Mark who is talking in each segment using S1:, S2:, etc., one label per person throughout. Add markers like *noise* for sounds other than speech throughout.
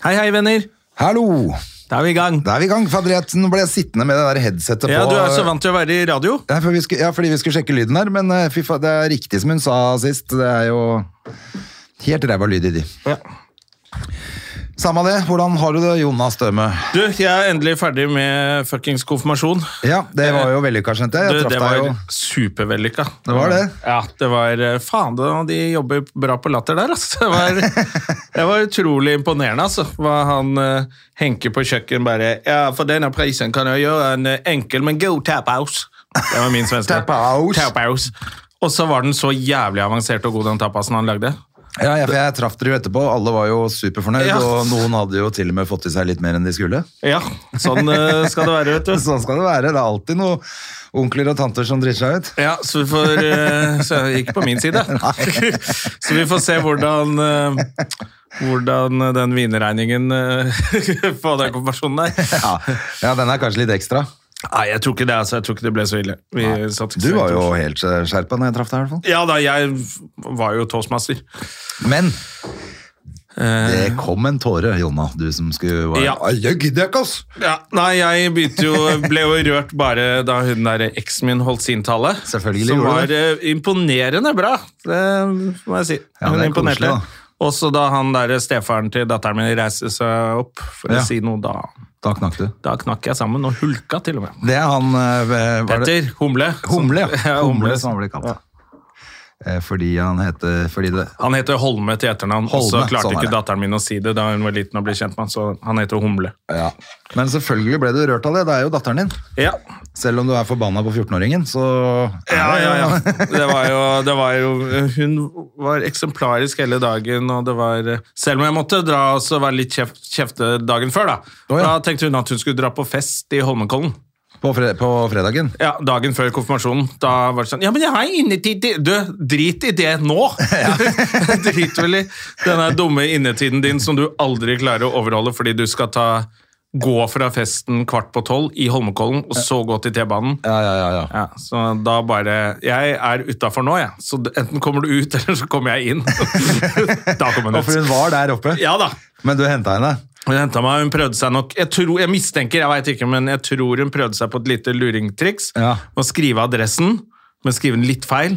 S1: Hei, hei, venner.
S2: Hallo!
S1: Da er vi i gang.
S2: Da er vi i gang. Faderett, nå ble jeg sittende med det der headsetet
S1: Ja,
S2: på.
S1: Du er så vant til å være i radio.
S2: Ja, for vi skulle, ja, fordi vi skulle sjekke lyden her, men eh, fy faen, det er riktig som hun sa sist. Det er jo helt ræva lyd i de.
S1: Ja.
S2: Samme det. Hvordan har du det, Jonas Døme?
S1: Du, jeg er endelig ferdig med fuckings konfirmasjon.
S2: Ja, det var jo vellykka, skjønte jeg.
S1: Du,
S2: Jeg
S1: det
S2: traff deg
S1: var
S2: jo.
S1: supervellykka.
S2: Det var det.
S1: Ja, det var eh, Faen, det- de jobber bra på latter der, altså. Det *laughs* var, det var utrolig imponerende, altså. Hva han eh, Henke på kjøkken bare Ja, for denne prisen kan jeg gjøre en eh, enkel, men god tapaus. Det var min svenske.
S2: Tapaus.
S1: Tapaus. Og så var den så jævlig avansert og god, den tapasen han lagde.
S2: Ja, jeg, for jeg traff dere jo etterpå. Alle var jo superfornøyd,
S1: Ja.
S2: og noen hadde jo til og med fått i seg litt mer enn de skulle.
S1: Ja, sånn eh, skal det være, *laughs* vet du.
S2: *laughs* Sånn skal det være. Det er alltid noen onkler og tanter som driter seg
S1: *laughs*
S2: ut.
S1: Ja, så vi får eh, så Ikke på min
S2: *laughs*
S1: side. så vi får se hvordan eh, hvordan eh, den vinregningen eh, *laughs* på den konfirmasjonen der.
S2: Ja. ja, den er kanskje litt ekstra.
S1: Nei, jeg tror ikke det. Altså, jeg tror ikke det ble så ille. Vi satt ikke
S2: Du
S1: så
S2: var
S1: høyt
S2: jo
S1: over.
S2: helt eh, skjerpa når jeg traff deg, i hvert fall.
S1: Ja da, jeg var jo toastmaster.
S2: Men det kom en tåre, Jonna, du som skulle være
S1: Ja.
S2: Eh. Ai, Jeg gidder ikke, ass!
S1: Ja, nei, jeg begynte jo, ble jo rørt bare da hun der eksen min holdt sin tale.
S2: Selvfølgelig
S1: Som
S2: gjorde
S1: var eh, imponerende bra, det må jeg si.
S2: Ja,
S1: Hun
S2: det er
S1: imponerte.
S2: koselig, da.
S1: Også da han der stefaren til datteren min reiser seg opp for
S2: Ja.
S1: å si noe, da,
S2: Da knakk du.
S1: da knakk jeg sammen og hulka til og med.
S2: Det er han eh, var det-
S1: Petter Humle. som-
S2: Humle, ja.
S1: *laughs* ja. Humle.
S2: Humle, som han ble kalt. Eh, Fordi han heter Fordi det
S1: Han heter Holme til etternavn, og så
S2: Holme,
S1: klarte
S2: sånn er
S1: ikke
S2: det.
S1: datteren min å si det da hun var liten og ble kjent med han, så han heter Humle.
S2: ja. Men selvfølgelig ble du rørt av det. Det er jo datteren din.
S1: Ja,
S2: Selv om du er forbanna på 14-åringen, så er
S1: Ja,
S2: det-
S1: ja, ja. *laughs* Det var jo, det var jo Hun var eksemplarisk hele dagen, og det var Selv om jeg måtte dra og så være litt kjeft, kjefte dagen før, da.
S2: Å, ja.
S1: Da tenkte hun at hun skulle dra på fest i Holmenkollen.
S2: *laughs* På, fre på fredagen.
S1: Ja, Dagen før konfirmasjonen. Da var det sånn Ja, men jeg har innetid til Du, drit i det nå! *laughs* drit vel i den der dumme innetiden din som du aldri klarer å overholde fordi du skal ta Gå fra festen kvart på tolv i Holmenkollen, og så gå til T-banen.
S2: Ja, ja, ja, ja.
S1: Ja, så da bare Jeg er utafor nå, jeg. Så enten kommer du ut, *laughs* eller så kommer jeg inn. da kom hun
S2: Og for hun
S1: ut.
S2: var der oppe.
S1: Ja da.
S2: Men du henta henne.
S1: Hun hentet meg, hun prøvde seg nok Jeg, tror, jeg mistenker, jeg veit ikke, men jeg tror hun prøvde seg på et lite luringtriks.
S2: Ja.
S1: Å skrive adressen, men skrive den litt feil.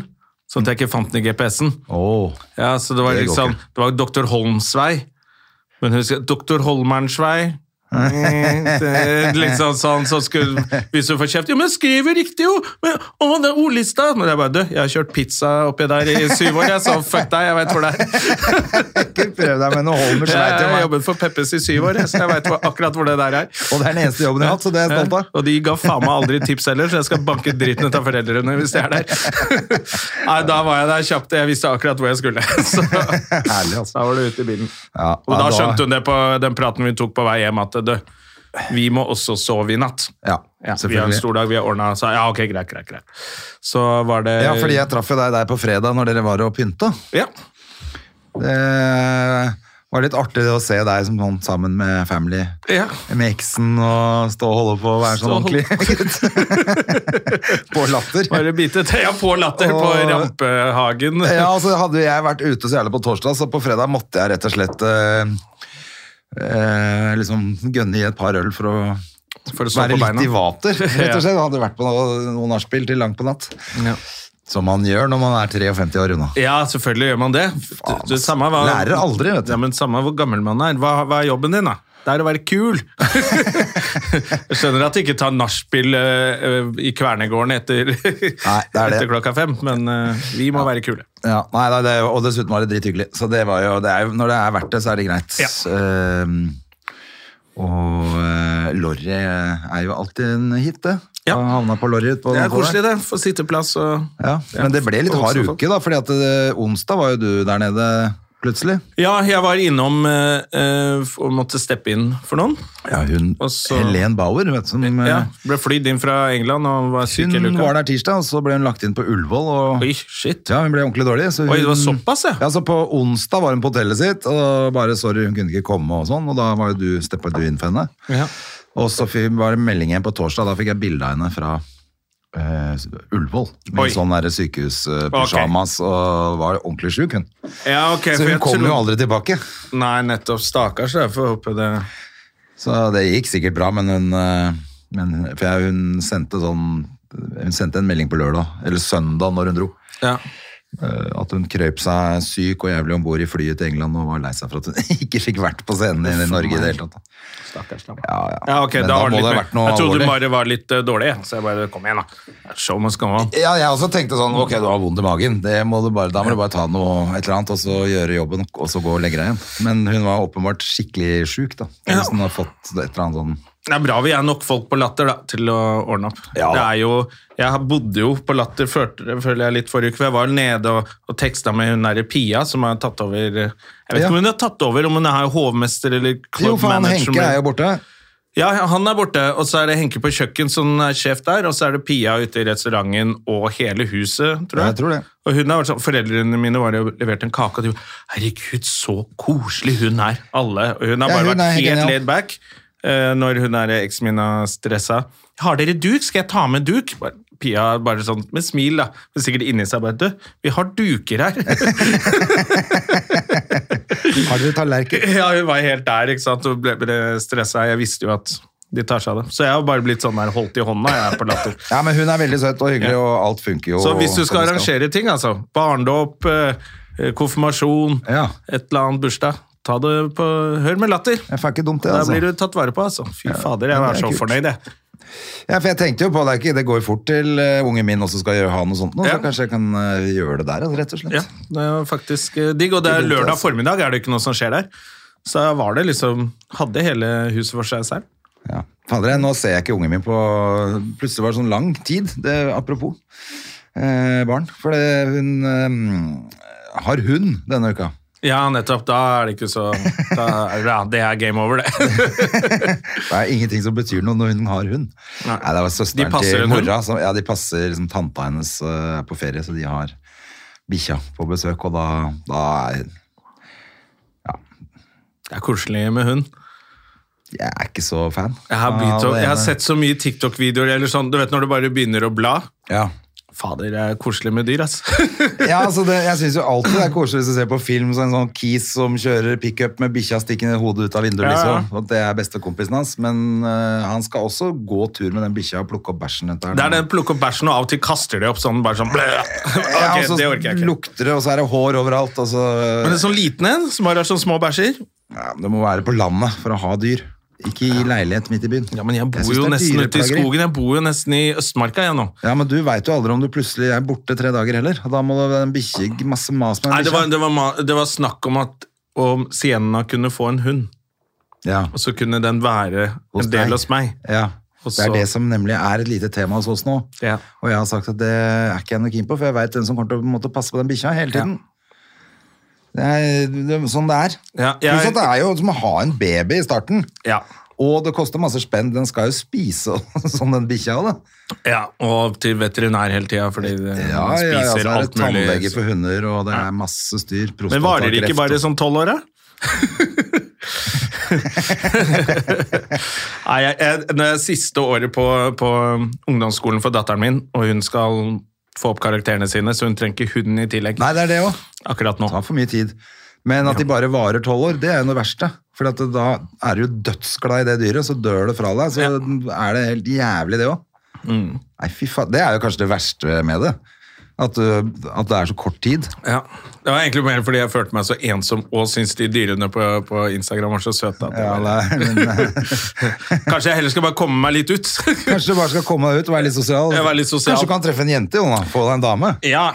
S1: Sånn at jeg ikke fant den i GPS-en.
S2: Oh.
S1: Ja, så det var
S2: Det går
S1: liksom
S2: ikke.
S1: Det var Dr. Holms vei. Men husk Dr. Holmerns
S2: *laughs*
S1: vei. Mm, det- liksom sånn så skulle Hvis du får kjeft Jo, men skriver riktig, jo! Men, å, det er ordlista! Men jeg bare Du, jeg har kjørt pizza oppi der i syv år, jeg, så fuck deg, jeg veit hvor det er.
S2: Ikke prøv deg med noe Holmers
S1: Jeg
S2: vei til
S1: har
S2: meg.
S1: jobbet for Peppes i syv år, jeg, så jeg veit akkurat hvor det der er.
S2: Og det er den eneste jobben jeg har hatt, så det er jeg stolt av.
S1: Og de ga faen meg aldri tips heller, så jeg skal banke dritten ut av foreldrene hvis jeg er der.
S2: *laughs*
S1: Nei, da var jeg der kjapt, jeg visste akkurat hvor jeg skulle. *laughs* Så
S2: Herlig, altså.
S1: da var du ute i bilen.
S2: Ja,
S1: Og da
S2: ja,
S1: skjønte hun det på den praten vi tok på vei hjem, at du, vi må også sove i natt. Ja,
S2: Ja,
S1: vi har en
S2: selvfølgelig.
S1: stor dag, vi har ordna så, Ja, ok, greit, greit, greit. Så var det
S2: Ja, fordi jeg traff jo deg der på fredag når dere var og pynta.
S1: Ja.
S2: Det var litt artig å se deg som sånn sammen med family.
S1: ja.
S2: Med eksen og stå og holde på å være sånn
S1: Stå og holde
S2: ordentlig. *laughs* på latter.
S1: Bare bite *laughs* tøya på latter på
S2: Og-
S1: Rampehagen.
S2: Ja, altså Hadde jo jeg vært ute så jævlig på torsdag, så på fredag måtte jeg rett og slett eh, eh, liksom gønne i et par øl for å
S1: for å stå
S2: være
S1: på beina.
S2: litt i
S1: *laughs*
S2: vater. rett
S1: Ja.
S2: og slett. Hadde vært på noe- noe nachspiel til langt på natt.
S1: Ja.
S2: Som man gjør når man er 53 år unna.
S1: Ja, selvfølgelig gjør man det.
S2: Faen,
S1: Du, du, samme hva,
S2: lærer aldri, vet du.
S1: Ja, men samme hvor gammel man er. Hva, hva er jobben din, da? Det er å være
S2: *laughs*
S1: kul. jeg skjønner at du ikke tar nachspiel eh, eh, i Kvernegården etter,
S2: det er det.
S1: *laughs* etter klokka fem, men eh, vi må være kule.
S2: Ja, Sånn nei, nei, det, er jo- og dessuten var det drithyggelig. Så det var jo, det er, jo- når det er verdt det, så er det greit.
S1: Ja.
S2: Ehm, og uh, Lorry er jo alltid en hit, det.
S1: Ja.
S2: Å havne på Lorry utpå
S1: Det er
S2: den
S1: koselig,
S2: der.
S1: det. Få sitteplass og
S2: Ja, men det ble litt
S1: for
S2: hard
S1: voksne folk.
S2: uke, da, fordi at eh, onsdag var jo du der nede plutselig.
S1: Ja, jeg var innom eh, eh, og måtte steppe inn for noen.
S2: Ja, hun,
S1: Og så-
S2: Helen Bauer, vet du, som eh,
S1: Ja, ble flydd inn fra England og var syk hele
S2: Hun
S1: uka.
S2: var der tirsdag, og så ble hun lagt inn på Ullevål. Og,
S1: Oi, shit.
S2: ja, hun ble ordentlig dårlig. Så hun,
S1: Oi, det var såpass, ja.
S2: Ja, så på onsdag var hun på hotellet sitt, og bare sorry, hun kunne ikke komme og sånn, og da var jo du, steppa du inn for henne.
S1: Ja.
S2: Og så fi- var det melding igjen på torsdag, da fikk jeg bilde av henne fra eh, Ullevål.
S1: Oi.
S2: Med sånn derre sykehuspyjamas, og var ordentlig sjuk, hun.
S1: ja ok, for
S2: Så hun
S1: jeg
S2: kom
S1: trodde-
S2: jo aldri tilbake.
S1: Nei, nettopp. Stakkars, jeg får håpe det
S2: Så det gikk sikkert bra, men hun, eh, men, for jeg, hun sendte sånn hun sendte en melding på lørdag, eller søndag når hun dro,
S1: Ja.
S2: eh, at hun krøp seg syk og jævlig om bord i flyet til England og var lei seg for at hun *laughs* ikke fikk vært på scenen i Norge i det hele tatt. da. Ja, ja.
S1: Ja, ok,
S2: Men
S1: da, var
S2: må
S1: det
S2: det
S1: litt
S2: ha
S1: mer.
S2: vært noe
S1: Jeg trodde
S2: alvorlig.
S1: du bare var litt eh, dårlig, jeg. så jeg bare Kom igjen, da. Det er Show must go on.
S2: Ja, jeg også tenkte sånn, ok, du har vondt i magen, det må du bare, da må du bare ta noe, et eller annet, og så gjøre jobben, og så gå og legge deg igjen. Men hun var åpenbart skikkelig syk da, hvis hun har fått et eller annet sånn,
S1: Det er bra vi er nok folk på Latter da, til å ordne opp.
S2: Ja.
S1: Det er jo, jeg har- bodde jo på Latter før, føler jeg litt forrige uke. for Jeg var nede og, og teksta med hun derre Pia, som har tatt over eh, Jeg vet ikke
S2: Ja.
S1: om hun har tatt over, om hun er hovmester eller
S2: jo
S1: club
S2: faen,
S1: manager.
S2: Henke er jo borte.
S1: Ja, han er borte, og så er det Henke på kjøkken som er sjef der, og så er det Pia ute i restauranten og hele huset, tror jeg.
S2: Ja, jeg tror det.
S1: Og hun har vært sånn, Foreldrene mine var jo levert en kake, og de var, herregud, så koselig hun er. Alle. Og hun har
S2: Ja,
S1: bare
S2: hun er
S1: vært helt
S2: genial.
S1: laid back eh, når hun er eksen min har stressa. Har dere duk? Skal jeg ta med duk? Bare, Pia er bare sånn med smil, da. Men sikkert inni seg bare Du, vi har duker
S2: *laughs*
S1: her.
S2: Har dere tallerken?
S1: *laughs* ja, hun var helt der, ikke sant, og ble, ble stressa. Jeg visste jo at de tar seg av det. Så jeg har bare blitt sånn der holdt i hånda, jeg, på latter.
S2: Ja, men hun er veldig søt og hyggelig, og alt funker jo.
S1: Så hvis du
S2: som
S1: sånn skal
S2: det
S1: arrangere ting, altså. Barndåp, eh, konfirmasjon,
S2: Ja.
S1: et eller annet bursdag. Ta det på Hør med latter!
S2: Jeg får ikke dumt det,
S1: Da
S2: altså.
S1: blir du tatt vare på, altså. Fy fader, jeg
S2: men
S1: var
S2: det er
S1: så
S2: kult.
S1: fornøyd, jeg.
S2: Ja, for jeg tenkte jo på det, er ikke, det går fort til eh, ungen min også skal gjøre, ha noe sånt nå,
S1: Ja.
S2: så kanskje jeg kan eh, gjøre det der, altså, rett og slett.
S1: Ja, det var faktisk eh, digg. Og det er
S2: dumt,
S1: lørdag
S2: altså.
S1: formiddag, er det ikke noe som skjer der. Så var det liksom Hadde hele huset for seg selv.
S2: Ja. Fader, jeg- nå ser jeg ikke ungen min på Plutselig var det sånn lang tid, det, apropos eh, barn. For det, hun eh, har hund denne uka.
S1: Ja, nettopp. Da er det ikke så da, ja, Det er game over, *laughs* det.
S2: Det er ingenting som betyr noe når hun har hund. Nei, det var
S1: De
S2: søsteren
S1: passer
S2: til
S1: en
S2: mora. Som, ja, de passer liksom, tanta hennes eh, på ferie, så de har bikkja på besøk, og da, da er
S1: Det er koselig med hund.
S2: Jeg er ikke så fan.
S1: Jeg har, begynt å,
S2: av Ah, det
S1: jeg har
S2: ene.
S1: sett så mye TikTok-videoer eller sånn, du vet når du bare begynner å bla.
S2: Ja.
S1: Fader, det er koselig med dyr, altså.
S2: Ja, altså det, jeg syns jo alltid det er koselig hvis du ser på film så en sånn kis som kjører pickup med bikkja stikkende hodet ut av vinduet,
S1: Ja, ja.
S2: liksom. Og det er bestekompisen hans. Men øh, han skal også gå tur med den bikkja og plukke opp bæsjen etter
S1: *laughs* Det er det plukke opp bæsjen, og av og til kaster de opp sånn, bare sånn blø.
S2: Ja,
S1: Ok,
S2: og så
S1: det orker jeg ikke.
S2: lukter det, og så er det hår overalt. Og så,
S1: Men en sånn liten en, som bare har sånne små bæsjer
S2: ja, det må være på landet for å ha dyr. Ikke i leilighet midt i byen.
S1: Ja, men jeg bor
S2: synes
S1: jo
S2: det er
S1: nesten ute i
S2: dyreplageri.
S1: skogen. Jeg bor jo nesten i Østmarka, jeg nå.
S2: Ja, men du veit jo aldri om du plutselig er borte tre dager heller. Og da må det være en bikkje masse mas med
S1: Nei,
S2: en
S1: det var,
S2: bikkje.
S1: det var, ma- det var snakk om at om Sienna kunne få en hund,
S2: Ja,
S1: og så kunne den være
S2: Hos
S1: en del
S2: deg.
S1: hos meg.
S2: ja.
S1: Og
S2: Det er
S1: så-
S2: det som nemlig er et lite tema hos oss nå.
S1: Ja.
S2: Og jeg har sagt at det er ikke jeg noe keen på, for jeg veit hvem som kommer til å på en måte, passe på den bikkja hele tiden. Det er det, er sånn det er.
S1: Ja, jeg-
S2: Pluss at det er jo som å ha en baby i starten.
S1: Ja.
S2: Og det koster masse spenn. Den skal jo spise *laughs* og sånn, den bikkja òg, da.
S1: ja, og til veterinær hele tida, fordi den
S2: Ja, ja, ja, så
S1: spiser
S2: er det
S1: alt mulig.
S2: tannlege for hunder, og det er masse styr.
S1: Men varer det ikke
S2: prostatakreft
S1: bare sånn?
S2: og-
S1: som tolv
S2: *laughs*
S1: år, da? Nei, jeg, jeg, det siste året på, på ungdomsskolen for datteren min, og hun skal få opp karakterene sine, så hun trenger ikke hunden i tillegg
S2: Nei, det er det òg.
S1: akkurat nå.
S2: Det tar for mye tid. Men at de bare varer tolv år, det er jo noe verste. For at da er du jo dødsglad i det dyret, så dør det fra deg. Så er det helt jævlig, det òg.
S1: Mm.
S2: Nei, fy faen. Det er jo kanskje det verste med det. At, du, at det er så kort tid.
S1: Ja. Det var egentlig mer fordi jeg følte meg så ensom og syntes de dyrene på, på Instagram var så søte. At jeg
S2: Ja,
S1: bare,
S2: det er, men,
S1: *laughs*
S2: eh,
S1: kanskje jeg heller skal bare komme meg litt ut. *laughs*
S2: kanskje du bare skal komme deg ut og være litt sosial.
S1: Ja, være litt sosial.
S2: Kanskje du kan treffe en jente, Jonna. *laughs* Få deg en dame.
S1: ja.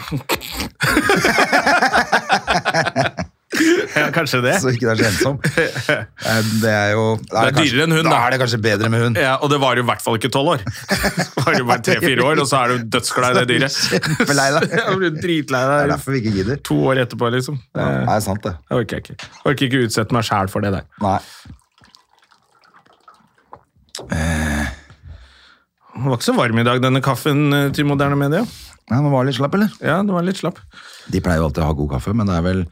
S1: Ja, kanskje det.
S2: Så ikke det er
S1: *laughs*
S2: så ensom. Eh, Det er jo da
S1: Det er dyrere enn hund,
S2: da.
S1: da.
S2: er det kanskje bedre med hund.
S1: Ja, og det var jo i hvert fall ikke tolv
S2: *laughs*
S1: år. Det var jo bare tre-fire år, og så er du dødsglad i det dyret.
S2: Kjempelei
S1: *laughs*
S2: deg.
S1: Ja, du blir dritlei
S2: Det er
S1: deg
S2: derfor vi ikke gidder.
S1: to år etterpå, liksom.
S2: Ja,
S1: Det-
S2: det er sant, det.
S1: Jeg orker ikke. Jeg orker ikke utsette meg sjæl for det der.
S2: Nei.
S1: Den var ikke så varm i dag, denne kaffen eh, til moderne media.
S2: Nei, men var det litt slapp, eller?
S1: Ja, den var litt slapp.
S2: De pleier jo alltid å ha god kaffe, men det er vel,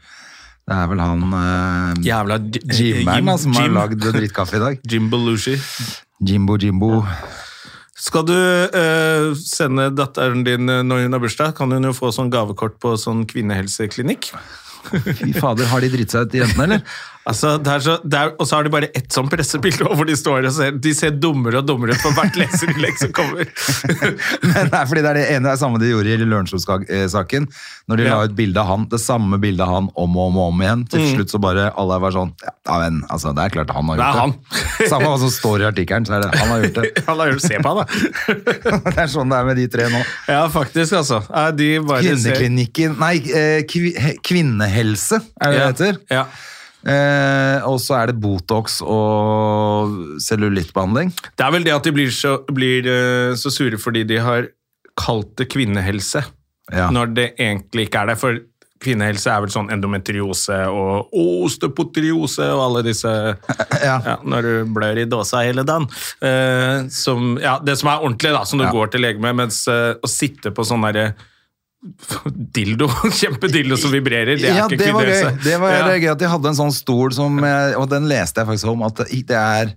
S2: det er vel han eh,
S1: Jævla
S2: Jimmeren da, som altså, har lagd drittkaffe i dag.
S1: Jim Belushi.
S2: Jimbo Jimbo.
S1: Skal du eh, sende datteren din eh, når hun har bursdag, kan hun jo få sånn gavekort på sånn kvinnehelseklinikk.
S2: Fy fader, har de dritt seg ut, de jentene, eller? *laughs*
S1: Altså, det er så, det er, og så har de bare ett sånn pressebilde hvor de står og ser De ser dummere og dummere ut for hvert leserinnlegg som kommer. *laughs*
S2: Men det er fordi det er det ene det er samme de gjorde i Lørenskog-saken. Når de
S1: Ja. Mm.
S2: la ut bilde av han, det samme bildet av han om og om, og om igjen. Til slutt så bare alle var sånn Ja, ja, men altså, det er klart han har
S1: Det er
S2: gjort det.
S1: han.
S2: samme hva som står i artikkelen, så er det han
S1: *laughs*
S2: har gjort det.
S1: Han har jo se på han, da.
S2: Det er sånn det er med de tre nå.
S1: Ja, faktisk, altså. Nei, de bare ser-
S2: Kvinneklinikken Nei, eh, kvi, he- kvinnehelse er det
S1: Ja,
S2: det heter.
S1: Ja.
S2: Eh, og så er det Botox og cellulittbehandling.
S1: Det er vel det at de blir så, blir, eh, så sure fordi de har kalt det kvinnehelse,
S2: Ja.
S1: når det egentlig ikke er det. For kvinnehelse er vel sånn endometriose og osteopotriose og alle disse
S2: *laughs* Ja.
S1: ja, Når du blør i dåsa hele dagen. Eh, som, ja, det som er ordentlig, da, som du
S2: Ja.
S1: går til lege med, mens eh, å sitte på sånn derre *laughs* Dildo, *laughs* kjempedildo som vibrerer, det er
S2: ja,
S1: ikke
S2: det var gøy.
S1: kvinnehelse.
S2: Det var
S1: Ja.
S2: gøy at de hadde en sånn stol som jeg, Og den leste jeg faktisk om, at det det er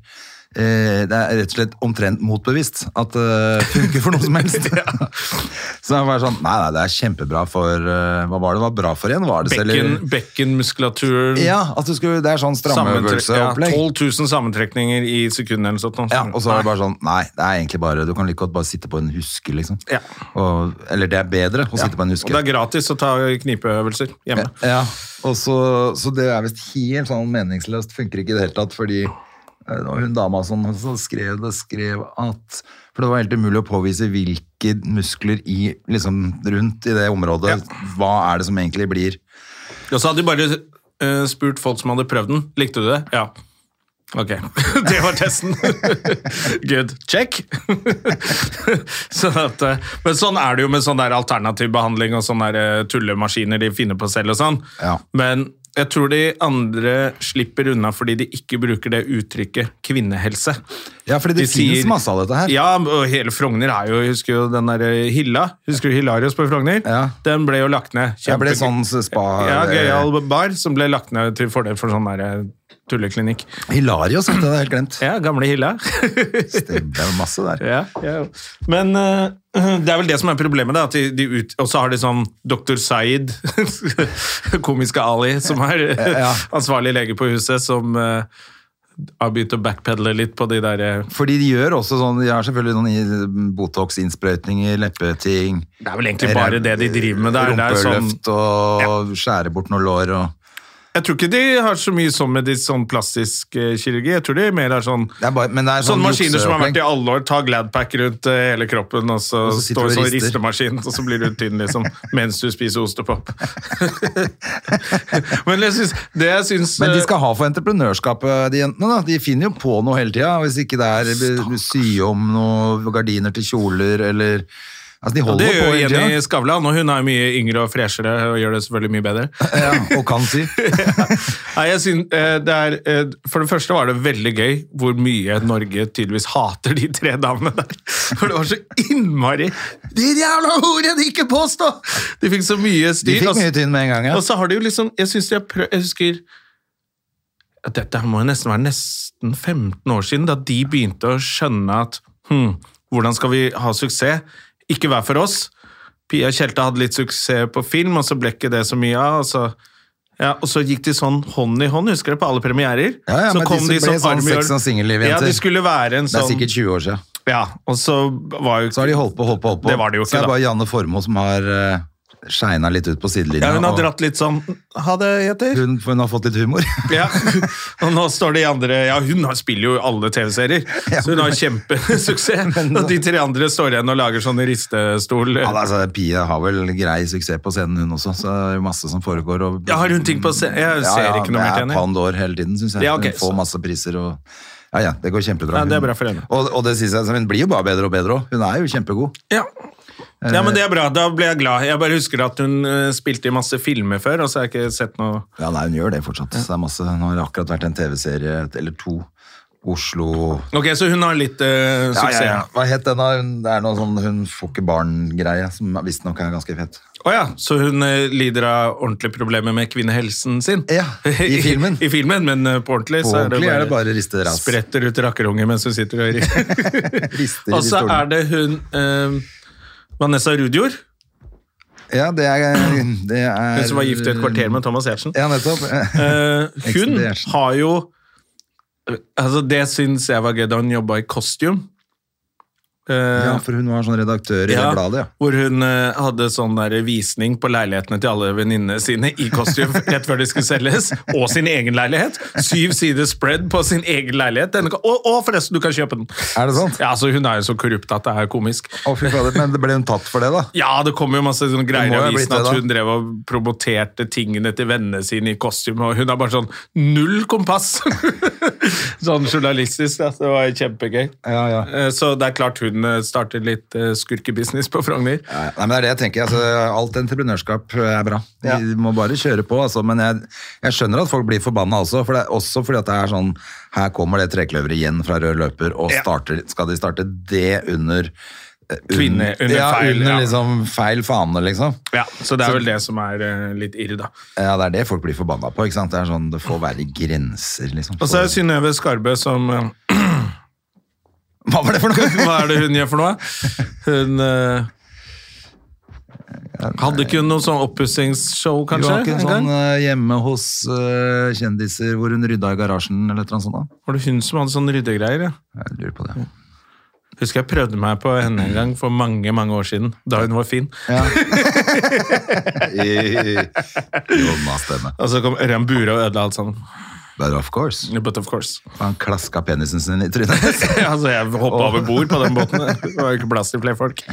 S2: eh, det er rett og slett omtrent motbevist at det funker for noe som
S1: *laughs*
S2: helst. *laughs* Så jeg var sånn Nei, nei, det er kjempebra for eh, Hva var det var bra for igjen? Var det
S1: Bekken,
S2: celler-
S1: bekkenmuskulaturen
S2: Ja, at du skulle, det er sånn
S1: Sammentre-
S2: strammeøvelseopplegg.
S1: Ja, 12 000 sammentrekninger i sekundet eller sånt. noe.
S2: Ja, og så er det bare sånn, nei, det er egentlig bare, du kan like godt bare sitte på en huske, liksom.
S1: Ja.
S2: Og, eller det er bedre å sitte på en
S1: Og det
S2: huske.
S1: er gratis å ta knipeøvelser hjemme.
S2: *laughs* Ja, og så, så det er vist helt sånn meningsløst, funker ikke i det hele tatt, fordi eh, det var hun dama som som skrev det, skrev at, for det var helt umulig å påvise hvilke muskler i, liksom, rundt i det området, hva er det som egentlig blir.
S1: Og så hadde de bare eh, spurt folk som hadde prøvd den. Likte du det? Ja. Ok. *laughs* det var testen. *laughs* Good. Check. *laughs* sånn at, eh, men sånn er det jo med sånn der alternativ behandling og sånne der, eh, tullemaskiner de finner på selv og sånn.
S2: Ja.
S1: Men jeg tror de andre slipper unna fordi de ikke bruker det uttrykket kvinnehelse.
S2: Ja, fordi det
S1: De
S2: finnes
S1: sier-
S2: masse av dette her.
S1: Ja, og hele Frogner er jo, jeg husker jo den der Hilla, husker du Hilarius på Frogner?
S2: Ja.
S1: Den ble jo lagt ned.
S2: Jeg ble
S1: Kjempe-
S2: sånn spa...
S1: Ja, Gøyal Bar, som ble lagt ned til fordel for sånn der tulleklinikk.
S2: Hilarios, det hadde jeg helt glemt.
S1: Ja, gamle *laughs* Hilla.
S2: Det er masse der.
S1: ja, ja. Men eh, det er vel det som er problemet, da. At de, de ut, og så har de sånn Dr. Zaid, *laughs* komiske Ali, som er
S2: Ja.
S1: ansvarlig lege på huset, som eh, har begynt å backpedale litt på de der eh,
S2: Fordi de gjør også sånn, de har selvfølgelig noen i- mm, botox-innsprøytninger, leppeting.
S1: Det er vel egentlig bare det de driver med. Det er, det er sånn
S2: Rumpeløft og skjære bort noen lår og...
S1: Jeg tror ikke de har så mye sånn med de sånn plastisk eh, kirurgi. Jeg tror de mer har sånn
S2: Det er bare, men det er sånn
S1: Sånne maskiner som har vært i
S2: jukseopplegg.
S1: alle år. Ta Gladpack rundt eh, hele kroppen, og så,
S2: Og så sitter
S1: står det
S2: du og
S1: sånn
S2: rister.
S1: ristemaskin, og så blir du tynn liksom,
S2: *laughs*
S1: mens du spiser ostepop. *laughs* Men jeg syns, det jeg syns
S2: Men de
S1: eh,
S2: skal ha for entreprenørskapet, de jentene da. De finner jo på noe hele tida, hvis ikke det er be- sy om noen gardiner til kjoler, eller... Altså, de
S1: det
S2: holder
S1: gjør
S2: på
S1: jo
S2: hele
S1: Jenny
S2: tida.
S1: Skavlan, og hun er jo mye yngre og freshere og gjør det selvfølgelig mye bedre.
S2: *laughs* Ja, og kan
S1: *laughs*
S2: sy.
S1: Nei, jeg synes, eh, det er, eh, for det første var det veldig gøy hvor mye Norge tydeligvis hater de tre damene der. For det var så innmari De jævla horene de ikke påstå! De fikk så mye
S2: De
S1: styr. altså.
S2: fikk
S1: og så-
S2: mye tynn med en gang, ja.
S1: Og så har de jo liksom Jeg synes de har prøvd Jeg husker at dette her må jo nesten være nesten 15 år siden, da de begynte å skjønne at hm, hvordan skal vi ha suksess? Ikke hver for oss. Pia Tjelte hadde litt suksess på film, og så ble ikke det så mye av. Og så, ja, og så gikk de sånn hånd i hånd, husker du, på alle premierer.
S2: Ja, ja,
S1: så
S2: men de som ble sånn
S1: arm i arm.
S2: sex og singelliv-jenter.
S1: Ja, de skulle være en
S2: Det er
S1: sånn
S2: sikkert 20 år siden.
S1: Ja, og så var jo
S2: Så har de holdt på, holdt på, holdt på.
S1: Det var det jo
S2: så
S1: ikke,
S2: er
S1: da.
S2: bare Janne Formoe som har eh, Skeina litt ut på sidelinja.
S1: Ja, hun har
S2: og
S1: dratt litt sånn Ha det, Jeter.
S2: hun, hun har fått litt humor. *laughs*
S1: Ja. *laughs* Og nå står de andre Ja, hun har- spiller jo i alle TV-serier, så hun har
S2: *laughs*
S1: kjempesuksess. Og de tre andre står igjen og lager sånne ristestol.
S2: Ja, altså, Pia har vel grei suksess på scenen, hun også. Så det er masse som foregår. Og,
S1: Ja, har hun ting på scenen? Jeg ser ikke noe mer til
S2: Det
S1: henne.
S2: er Pandor hele tiden, syns jeg.
S1: Ja, ok,
S2: hun får
S1: så-
S2: masse priser og Ja, ja, det går kjempebra.
S1: Ja, det er
S2: Hun-
S1: bra for henne.
S2: Og, og det synes jeg, så hun blir jo bare bedre og bedre òg. Hun er jo kjempegod.
S1: Ja. ja, men det er bra. Da ble jeg glad. Jeg bare husker at hun eh, spilte i masse filmer før, og så har jeg ikke sett noe
S2: Ja, nei, hun gjør det fortsatt. Så det er masse, nå har det akkurat vært en TV-serie eller to. Oslo
S1: Ok, så hun har litt eh,
S2: Ja,
S1: suksess. Å ja,
S2: Hva het den, da? Hun- Det er noe sånn Hun får ikke barn-greie, som visstnok er ganske fett. *laughs*
S1: Så hun eh, lider av ordentlige problemer med kvinnehelsen sin?
S2: Ja, i filmen.
S1: *laughs* I filmen, Men eh, på ordentlig,
S2: På
S1: så
S2: ordentlig er det bare riste ras.
S1: Spretter ut rakkerunge mens hun sitter og *laughs* rister.
S2: Rister i
S1: og så
S2: stolen.
S1: Altså, er det hun eh, Vanessa Rudjord,
S2: Ja, det er, det er
S1: hun som var gift i et kvarter med Thomas Giertsen.
S2: Ja, nettopp. *laughs*
S1: Eh, hun
S2: Ekspedert.
S1: har jo Altså, det syns jeg var gøy da hun jobba i Costume. Eh,
S2: Ja, for hun var sånn redaktør i
S1: ja,
S2: det bladet, ja.
S1: Hvor hun eh, hadde sånn der visning på leilighetene til alle venninnene sine i
S2: *laughs*
S1: Costume rett før de skulle selges, og sin egen leilighet. Syv sider spread på sin egen leilighet. Denne, kan- og, og forresten, du kan kjøpe den!
S2: Er det sant?
S1: Ja, altså, Hun er jo så korrupt at det er komisk.
S2: Å, fy fader, men det ble hun tatt for det, da?
S1: Ja, det kom jo masse sånne greier
S2: Det
S1: i
S2: må jo ha blitt
S1: avisen
S2: det,
S1: at
S2: da.
S1: hun drev og promoterte tingene til vennene sine i kostyme, og hun har bare sånn null kompass! *laughs* sånn journalistisk, da. så Det var kjempegøy.
S2: Ja, ja.
S1: Eh, Så det er klart hun eh, starter litt eh, skurkebusiness på Frogner.
S2: Nei, nei, men det er det jeg tenker. Altså, alt entreprenørskap eh, er bra. Vi må bare kjøre på, altså. Men jeg, jeg skjønner at folk blir forbanna også. For det er også fordi at det er sånn Her kommer det trekløveret igjen fra rød løper, og
S1: Ja.
S2: starter, skal de starte det under eh, un-
S1: Kvinne- under
S2: ja,
S1: feil,
S2: Under
S1: ja.
S2: liksom feil fane, liksom.
S1: Ja, Så det
S2: Så-
S1: er vel det som er eh, litt irr, da.
S2: Ja, det er det folk blir forbanna på. ikke sant? Det er sånn, det får være grenser, liksom.
S1: Og så er det Synnøve Skarbø som eh, *laughs*
S2: Hva var det for noe?
S1: Hva er det hun gjør for noe? Hun eh, Hadde ikke hun noe sånn oppussingsshow,
S2: Du
S1: kanskje?
S2: har ikke en
S1: en gang?
S2: sånn eh, hjemme hos eh, kjendiser hvor hun rydda i garasjen eller et eller annet sånt? da?
S1: Var det hun som hadde sånne ryddegreier? Ja?
S2: Jeg
S1: *laughs*
S2: lurer på det.
S1: Husker jeg prøvde meg på henne en gang for mange mange år siden, da hun var fin.
S2: Jonas-stemme.
S1: Og så kom Ørjan Bure og ødela alt sammen.
S2: But of course.
S1: But of course. *laughs*
S2: Han klaska penisen sin i trynet.
S1: altså, jeg hoppa over bord på den
S2: *laughs*
S1: båten. Det var jo ikke plass til flere folk.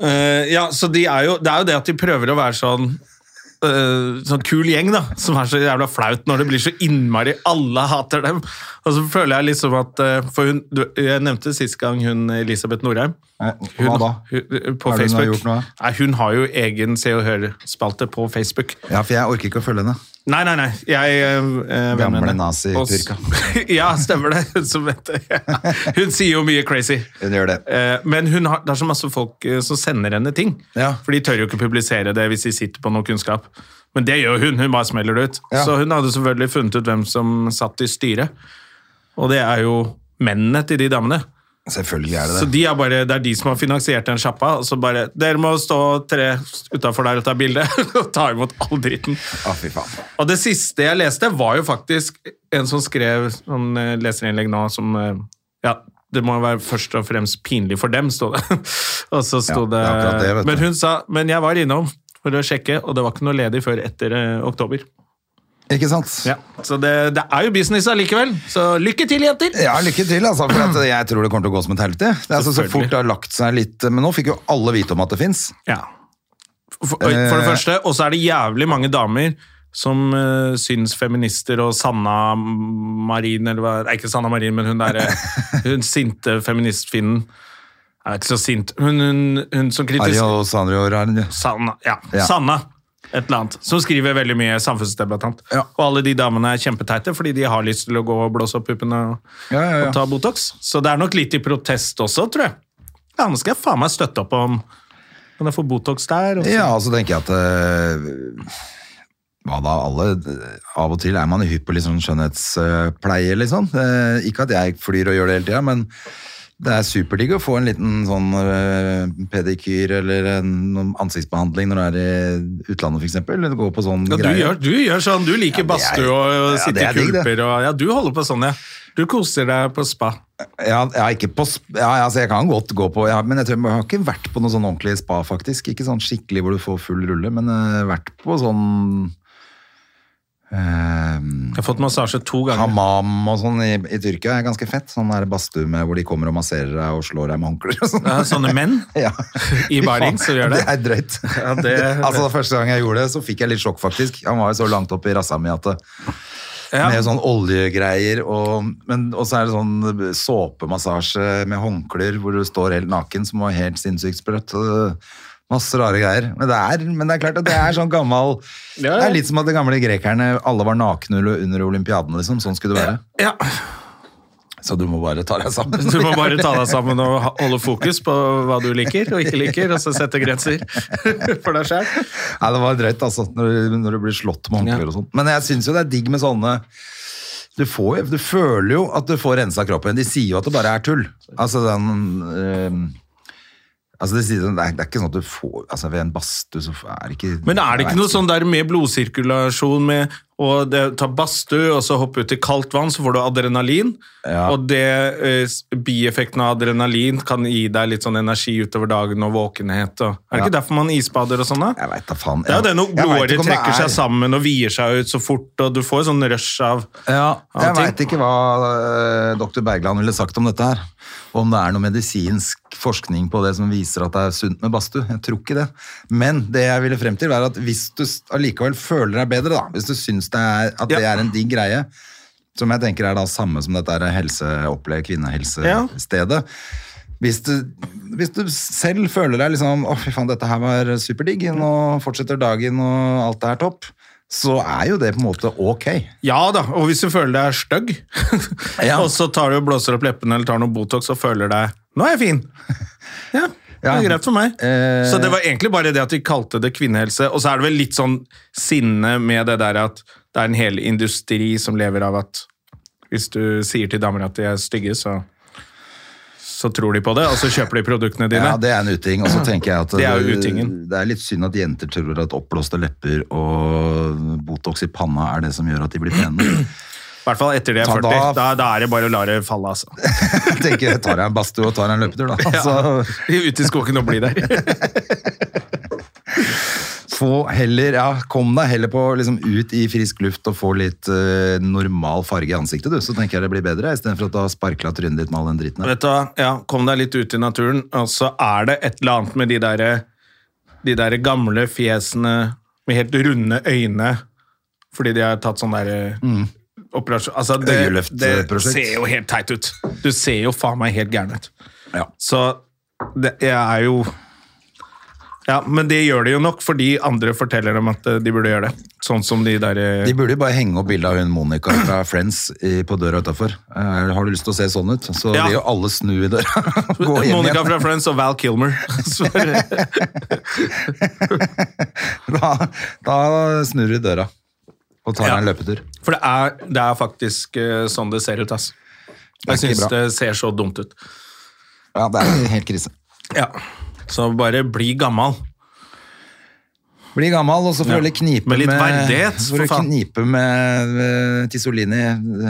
S1: Eh, ja, så de er jo, Det er jo det at de prøver å være sånn eh, sånn kul gjeng, da. Som er så jævla flaut når det blir så innmari Alle hater dem. Og så føler jeg liksom at eh, For hun, du, jeg nevnte sist gang hun Elisabeth Norheim.
S2: Hva da?
S1: Hun, eh, på
S2: Hva er det hun har
S1: Facebook.
S2: gjort nå?
S1: Nei, hun har jo egen Se og Hør-spalte på Facebook.
S2: Ja, for jeg orker ikke å følge henne.
S1: Nei, nei, nei. Jeg, eh,
S2: Gamle
S1: venner.
S2: nazi-purka.
S1: Og s- *laughs* ja, stemmer det. Hun som vet det. Hun sier jo mye crazy.
S2: Hun gjør det.
S1: Eh, Men hun har, det er så masse folk eh, som sender henne ting.
S2: Ja.
S1: For de tør jo ikke publisere det hvis de sitter på noe kunnskap. Men det gjør hun. Hun bare smeller det ut.
S2: Ja.
S1: Så hun hadde selvfølgelig funnet ut hvem som satt i styret. Og det er jo mennene til de damene.
S2: Selvfølgelig er
S1: Så
S2: det det.
S1: de er bare, Det er de som har finansiert den sjappa. Og så bare Dere må stå tre utafor der og ta bilde. *laughs* Og ta imot all dritten.
S2: Å, fy faen.
S1: Og det siste jeg leste, var jo faktisk en som skrev sånn eh, leserinnlegg nå som eh, Ja, det må være først og fremst pinlig for dem, sto det. *laughs* og så sto
S2: Ja, det er akkurat
S1: det,
S2: det, vet du.
S1: Men hun sa Men jeg var innom for å sjekke, og det var ikke noe ledig før etter eh, oktober.
S2: Ikke sant?
S1: Ja, Så det, det er jo business allikevel. Så lykke til, jenter!
S2: Ja, lykke til, altså, for at jeg tror det kommer til å gå som et helvete. Det er altså så
S1: Selvfølgelig.
S2: fort det har lagt seg litt Men nå fikk jo alle vite om at det fins.
S1: Ja. For, for det
S2: Eh.
S1: første, og så er det jævlig mange damer som eh, syns feminister og Sanna Marin, eller hva Nei, ikke Sanna Marin, men hun derre Hun sinte feministfinnen. Jeg er ikke så sint. Hun, hun, hun som kritiserer
S2: Ario Sanrio Rarnje.
S1: Sanna. Ja.
S2: Ja.
S1: Sanna. Et eller annet. Som skriver veldig mye samfunnsdebattant.
S2: Ja.
S1: Og alle de damene er kjempeteite fordi de har lyst til å gå og blåse opp puppene og,
S2: Ja, ja, ja.
S1: og ta Botox. Så det er nok litt i protest også, tror jeg. Ja, nå skal jeg faen meg støtte opp om Kan jeg få Botox der? Og så-
S2: Ja, og så tenker jeg at eh, Hva da, alle Av og til er man hypp på litt sånn skjønnhetspleie, liksom. Eh, ikke at jeg flyr og gjør det hele tida, men det er superdigg å få en liten sånn eh, pedikyr eller en noen ansiktsbehandling når du er i utlandet, f.eks. Gå på sånn
S1: Ja, du,
S2: greie.
S1: gjør, du gjør sånn, du liker
S2: Ja, det er-
S1: badstue og, og
S2: ja,
S1: sitte
S2: det
S1: i
S2: er digg, det.
S1: kulper og Ja, du holder på sånn, ja. Du koser deg på spa.
S2: Ja, jeg, er ikke på, sp- ja, altså jeg kan godt gå på ja, Men jeg, tror, jeg har ikke vært på noe sånn ordentlig spa, faktisk. Ikke sånn skikkelig hvor du får full rulle, men eh, vært på sånn eh,
S1: Jeg har fått massasje to ganger.
S2: Hamam og sånn i, i Tyrkia er ganske fett. Sånn der badstue med hvor de kommer og masserer deg og slår deg med håndklær og sånn.
S1: Det er sånne menn
S2: *laughs* Ja. *laughs*
S1: i baring som gjør det.
S2: Det er drøyt.
S1: Ja, det-
S2: *laughs* altså, Første gang jeg gjorde det, så fikk jeg litt sjokk, faktisk. Han var jo så langt opp i rassa mi at det,
S1: Ja.
S2: Med sånn oljegreier, og, men, og så er det sånn såpemassasje med håndklær hvor du står helt naken, som var helt sinnssykt sprøtt. og Masse rare greier. Men det er, men det er klart at det er sånn gammel
S1: Ja, ja.
S2: Det er litt som at de gamle grekerne alle var nakne under olympiadene, liksom. Sånn skulle det være.
S1: Ja,
S2: Så du må bare ta deg sammen.
S1: *laughs* Du må
S2: *laughs*
S1: bare ta deg sammen og ha- holde fokus på hva du liker og ikke liker, og så sette grenser *laughs* for deg sjøl.
S2: Nei, det var drøyt, altså, når, når du blir slått med håndklær
S1: Ja.
S2: og sånn. Men jeg syns jo det er digg med sånne du, får, jo- du føler jo at du får rensa kroppen. De sier jo at det bare er tull. Altså den ehm, Altså de sier, sånn, det, er, det er ikke sånn at du får Altså Ved en badstue så er det ikke
S1: Men er det ikke noe sånn der med blodsirkulasjon med å det- ta badstue og så hoppe ut i kaldt vann, så får du adrenalin?
S2: Ja.
S1: Og det eh, s- bieffekten av adrenalin kan gi deg litt sånn energi utover dagen og våkenhet. Og, er det ikke derfor man isbader og sånn, da?
S2: Jeg veit da faen.
S1: Det er jo det når
S2: Jeg- jeg vet
S1: blodåret
S2: ikke om det
S1: trekker
S2: er-
S1: seg sammen og vier seg ut så fort, og du får sånn rush av
S2: Ja,
S1: av
S2: jeg
S1: ting.
S2: veit ikke hva eh, dr. Bergland ville sagt om dette her. Om det er noe medisinsk forskning på det som viser at det er sunt med badstue. Jeg tror ikke det. Men det jeg ville frem til, er at hvis du s- allikevel føler deg bedre, da, hvis du syns det er, at det
S1: Ja.
S2: er en digg greie, som jeg tenker er da samme som dette her helseopplegg,
S1: Ja.
S2: kvinnehelsestedet. Hvis du, hvis du selv føler deg liksom Å, fy faen, dette her var superdigg. Nå fortsetter dagen, og alt er topp. Så er jo det på en måte ok.
S1: Ja da, og hvis du føler deg stygg, *laughs*
S2: Ja.
S1: og så tar du og blåser opp leppene eller tar noe Botox og føler deg Nå er jeg fin! Ja, det
S2: Ja.
S1: er greit for meg.
S2: Eh.
S1: Så det var egentlig bare det at de kalte det kvinnehelse. Og så er det vel litt sånn sinne med det der at det er en hel industri som lever av at hvis du sier til damer at de er stygge, så, så tror de på det, og så kjøper de produktene dine.
S2: Ja, det er en uting. Og så tenker jeg at
S1: Det er jo utingen.
S2: det er litt synd at jenter tror at oppblåste lepper og Botox i panna er det som gjør at de
S1: *clears throat*
S2: blir pene.
S1: I hvert fall etter de er
S2: Ja,
S1: 40. Da,
S2: da-
S1: da, er det bare å la det falle,
S2: *laughs*
S1: altså.
S2: Jeg tenker, tar jeg en badstue og tar jeg en løpetur, da. Altså,
S1: *laughs* Ut i skogen og bli der.
S2: *laughs* få heller, ja, kom deg heller på liksom, ut i frisk luft og få litt eh, normal farge i ansiktet, du. Så tenker jeg det blir bedre, istedenfor at du har sparkla trynet ditt med all den dritten her.
S1: Vet du hva, ja, kom deg litt ut i naturen, og så er det et eller annet med de der, de der gamle fjesene med helt runde øyne, fordi de har tatt sånn der operasjon. Altså, det, det
S2: Mm. Øyeløftprosjekt.
S1: ser jo helt teit ut. Du ser jo faen meg helt gæren ut.
S2: Ja.
S1: Så det jeg er jo... Ja, men det gjør de jo nok, fordi andre forteller dem at eh, de burde gjøre det. Sånn som de der... eh,
S2: De burde jo bare henge opp bildet av hun Monica fra Friends i, på døra utafor. har du lyst til å se sånn ut? Så
S1: Ja.
S2: vil jo alle snu i døra. *laughs* og Gå hjem igjen. *laughs*
S1: Monica fra Friends og Val Kilmer. Så,
S2: Da, da snur du i døra og tar
S1: Ja.
S2: deg en løpetur.
S1: For det er, det er faktisk eh, sånn det ser ut, ass.
S2: er
S1: Jeg
S2: ikke
S1: syns
S2: bra.
S1: det ser så dumt ut.
S2: Ja, det er helt krise.
S1: Ja. Så bare bli gammal.
S2: Bli gammel, og så får du heller knipe
S1: Med litt verdighet,
S2: så
S1: for
S2: får du
S1: faen.
S2: knipe med eh, Tisolini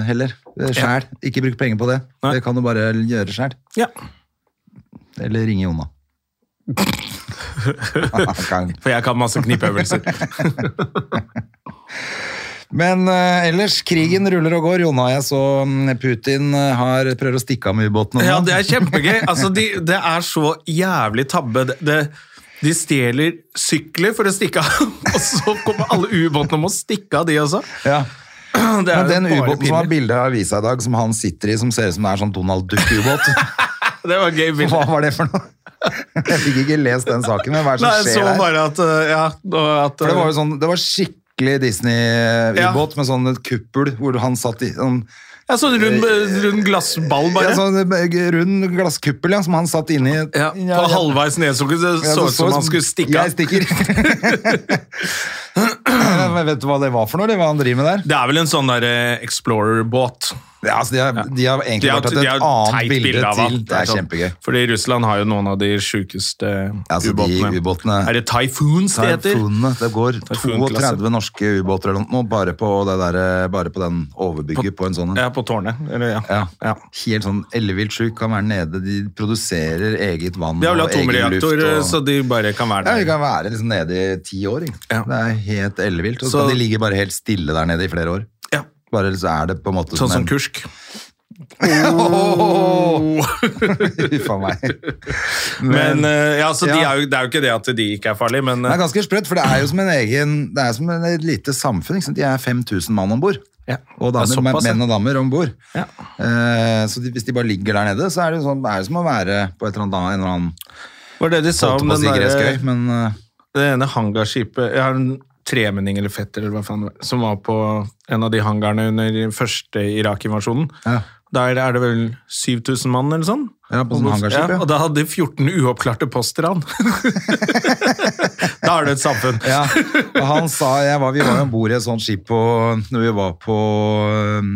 S2: heller. Sjæl. Ikke bruk penger på det.
S1: Nei.
S2: Det kan du bare gjøre sjæl.
S1: Ja.
S2: Eller ringe
S1: *laughs*
S2: Jonna. *laughs* Kan.
S1: For jeg kan masse knipeøvelser.
S2: Men eh, ellers, krigen ruller og går. Jonna, jeg så mm, Putin eh, har prøver å stikke av med ubåten. nå.
S1: *laughs* ja, det er kjempegøy. Altså, de, det er så jævlig tabbe. Det, det, de stjeler sykler for å stikke av, *laughs* og så kommer alle ubåtene og må stikke av, de også.
S2: Ja.
S1: Det
S2: Men
S1: er
S2: den
S1: jo bare
S2: ubåten som har
S1: pinlig.
S2: bilde av avisa i dag, som han sitter i, som ser ut som det er sånn Donald
S1: *laughs*
S2: Duck-ubåt *laughs*
S1: Det var gøy bilde.
S2: Hva var det for noe? *laughs* Jeg fikk ikke lest den saken, men hva er det
S1: Nei, jeg
S2: som
S1: så
S2: skjer der?
S1: bare at, eh, ja, og at eh,
S2: For det var jo sånn, det var skikkelig Disney-ubåt med sånn kuppel hvor han satt i sånn,
S1: ja, sånn rund, rund glassball,
S2: ja,
S1: bare.
S2: sånn rund glasskuppel ja, som han satt inni.
S1: Ja, på halvveis nedsukket så
S2: Ja, *laughs*
S1: det så ut som han skulle stikke
S2: Jeg
S1: av.
S2: stikker. Jeg vet du hva det var for noe, eller hva han driver med der?
S1: Det er vel en sånn der eh, Explorer-båt.
S2: Ja, altså, de, har, de har egentlig
S1: har-
S2: bare tatt et
S1: har
S2: annet
S1: teit
S2: bilde,
S1: hva-
S2: til. Det er
S1: sånn.
S2: kjempegøy.
S1: Fordi Russland har jo noen av de sjukeste
S2: Altså, de
S1: ubåtene.
S2: ubåtene-
S1: Er det Typhoons det heter?
S2: Typhoonene, det går
S1: Typhoon-klasse.
S2: 32 norske ubåter eller noe, bare på, det der, eh, bare på den overbygget på en sånn en.
S1: Ja, på tårnet. Eller, ja.
S2: Ja.
S1: Ja.
S2: Helt sånn ellevilt sjuk, kan være nede. De produserer eget vann
S1: De har vel
S2: og egen luft.
S1: atomreaktor,
S2: og-
S1: så de bare kan være
S2: Ja, de
S1: der.
S2: kan være liksom nede i ti år. ikke?
S1: Ja.
S2: Det er helt ellevilt. Og så
S1: Så-
S2: kan de ligge bare helt stille der nede i flere år.
S1: Ja.
S2: Bare så er det på en måte
S1: Sånn som
S2: en-
S1: Kursk.
S2: *laughs* Fy faen
S1: *laughs*
S2: meg.
S1: Men, eh, ja, så De
S2: ja.
S1: er jo, Det er jo ikke det at de ikke er farlige, men
S2: Det
S1: eh,
S2: er ganske sprøtt, for det er jo som en egen Det er som en- et lite samfunn. Ikke sant? De er 5000 mann om bord.
S1: Ja.
S2: Og damer,
S1: Det er såpass, ja.
S2: menn og damer om bord.
S1: Ja.
S2: Eh, så de, hvis de bare ligger der nede, så er det, jo sånn, det er det som å være på et eller annet en eller annen
S1: var det de sa
S2: holdt
S1: om
S2: på å
S1: den
S2: si
S1: der,
S2: gressgøy, men eh,
S1: det ene hangarskipet Jeg har en tremenning eller fetter eller hva faen, det var, som var på en av de hangarene under den første Irak-invasjonen.
S2: Ja.
S1: Der er det vel 7000 mann eller sånn?
S2: Ja, på sånn
S1: Og-
S2: hangarskip, ja.
S1: Og da hadde de 14 uoppklarte postran.
S2: *laughs*
S1: da er det et samfunn.
S2: Ja, og han sa jeg var, Vi var jo ombord i et sånt skip på, når vi var på øhm,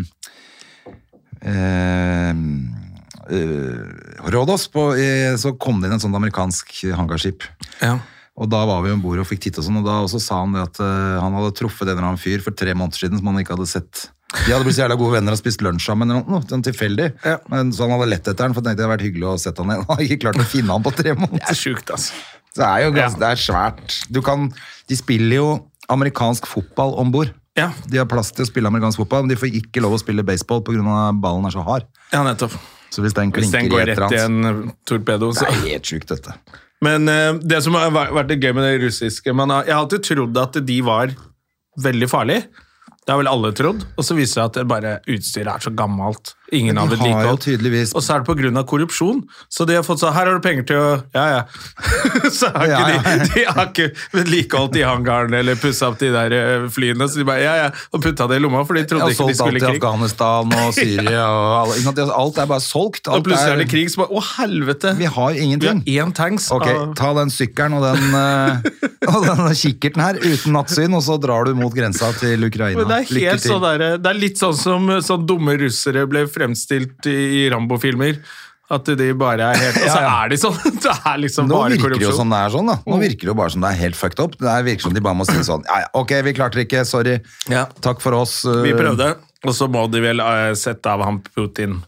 S2: øh, eh, Rhodos, på, eh, så kom det inn en sånn amerikansk hangarskip.
S1: Ja.
S2: Og da var vi om bord og fikk titte og sånn, og da også sa han det at eh, han hadde truffet en eller annen fyr for tre måneder siden som han ikke hadde sett. De hadde blitt så jævla gode venner og spist lunsj sammen eller noe, sånn tilfeldig.
S1: Ja.
S2: Men, så han hadde lett etter han, for tenkte det hadde vært hyggelig å sett *laughs* han igjen. Han hadde ikke klart å finne han på tre måneder.
S1: Det er sjukt, altså.
S2: Det er jo gans-
S1: Ja.
S2: det er svært. Du kan, de spiller jo amerikansk fotball om bord.
S1: Ja.
S2: De har plass til å spille amerikansk fotball, men de får ikke lov å spille baseball pga. ballen er så hard.
S1: Ja, nettopp.
S2: Så hvis den
S1: Hvis
S2: klinker
S1: den
S2: i
S1: går
S2: et eller
S1: rett i
S2: annet
S1: en torpedo,
S2: Det
S1: så
S2: er helt sjukt, dette.
S1: Men eh, det som har væ- vært det gøy med det russiske man har, Jeg har alltid trodd at de var veldig farlige. Det har vel alle trodd. Og så viser det seg at det bare utstyret er så gammelt. Ingen
S2: Men
S1: har
S2: de har jo
S1: vedlikehold.
S2: tydeligvis-
S1: Og så er det pga. korrupsjon. Så de har fått sånn Her har du penger til å Ja, *laughs* ja. så har ikke
S2: Ja, ja.
S1: De, de har ikke vedlikeholdt de hangarene eller pussa opp de der eh, flyene. Så de bare Ja, ja. Og putta det i lomma, for de
S2: Jeg
S1: trodde
S2: har
S1: ikke de
S2: solgt
S1: skulle
S2: alt
S1: i
S2: til
S1: krig.
S2: Afghanistan
S1: *laughs*
S2: og Syria og alle, ikke sant? Alt er bare solgt. Alt
S1: Og plutselig er det krig, så bare Å, helvete!
S2: Vi har ingenting.
S1: Vi har én tanks.
S2: Ok,
S1: av-
S2: ta den sykkelen og den, eh, *laughs* og den kikkerten her uten nattsyn, og så drar du mot grensa til Ukraina.
S1: Men det er,
S2: Lykke
S1: helt
S2: til.
S1: sånn der, det er litt sånn som eh, sånn dumme russere ble fremstilt i i Rambo-filmer. At de bare er
S2: *laughs*
S1: helt Og så
S2: ja.
S1: er de sånn! *laughs* Det er liksom
S2: Nå
S1: bare
S2: virker det jo
S1: korrupsjon. Oh.
S2: som det er sånn, da. Nå virker det jo bare som det er helt fucked up. Det er- virker som de bare må si sånn Nei, ok, vi klarte det ikke, sorry.
S1: Ja.
S2: Takk for oss. uh,
S1: Vi prøvde, og så må de vel eh, sette av han Putin.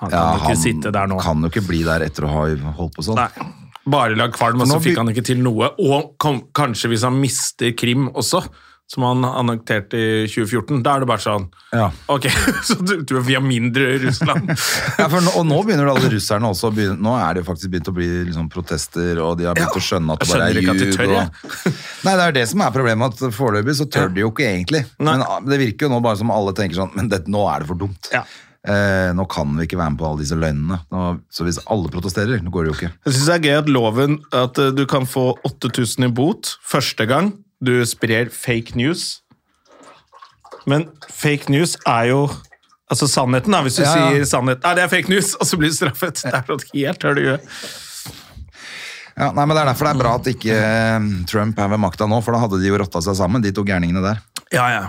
S1: Han kan
S2: Ja,
S1: jo ikke sitte der nå.
S2: kan jo ikke bli der etter å ha holdt på sånn.
S1: Nei. Bare lag kvalm, og
S2: For
S1: så
S2: nå
S1: fikk
S2: by-
S1: han ikke til noe. Og kom, kanskje hvis han mister Krim også, som han annekterte i 2014, da er det bare sånn *laughs*
S2: Ja.
S1: Ok, så du, du, vi har mindre
S2: *laughs*
S1: Russland.
S2: Ja, for nå, og nå begynner alle russerne også å begynne, Nå er det jo faktisk begynt å bli liksom, protester, og de har begynt å skjønne at det
S1: Jeg
S2: bare er
S1: skjønner ikke at de
S2: ljug.
S1: tør, jeg.
S2: og... *laughs* Nei, det er det som er problemet, at foreløpig så tør de jo ikke egentlig.
S1: Nei.
S2: Men ah, det virker jo nå bare som alle tenker sånn Men det, nå er det for dumt.
S1: Ja.
S2: Eh, nå kan vi ikke være med på alle disse løgnene. Nå, så hvis alle protesterer, nå går det jo ikke.
S1: Jeg syns det er gøy at loven at eh, du kan få 8000 i bot første gang du sprer fake news. Men fake news er jo Altså sannheten, da. Hvis du
S2: Ja, ja.
S1: sier sannhet Nei, det er fake news, og så blir du straffet. Det er sånn helt høl i huet.
S2: Ja, nei, men Det er derfor det er bra at ikke eh, Trump er ved makta nå, for da hadde de jo rotta seg sammen, de to gærningene der.
S1: Ja, ja.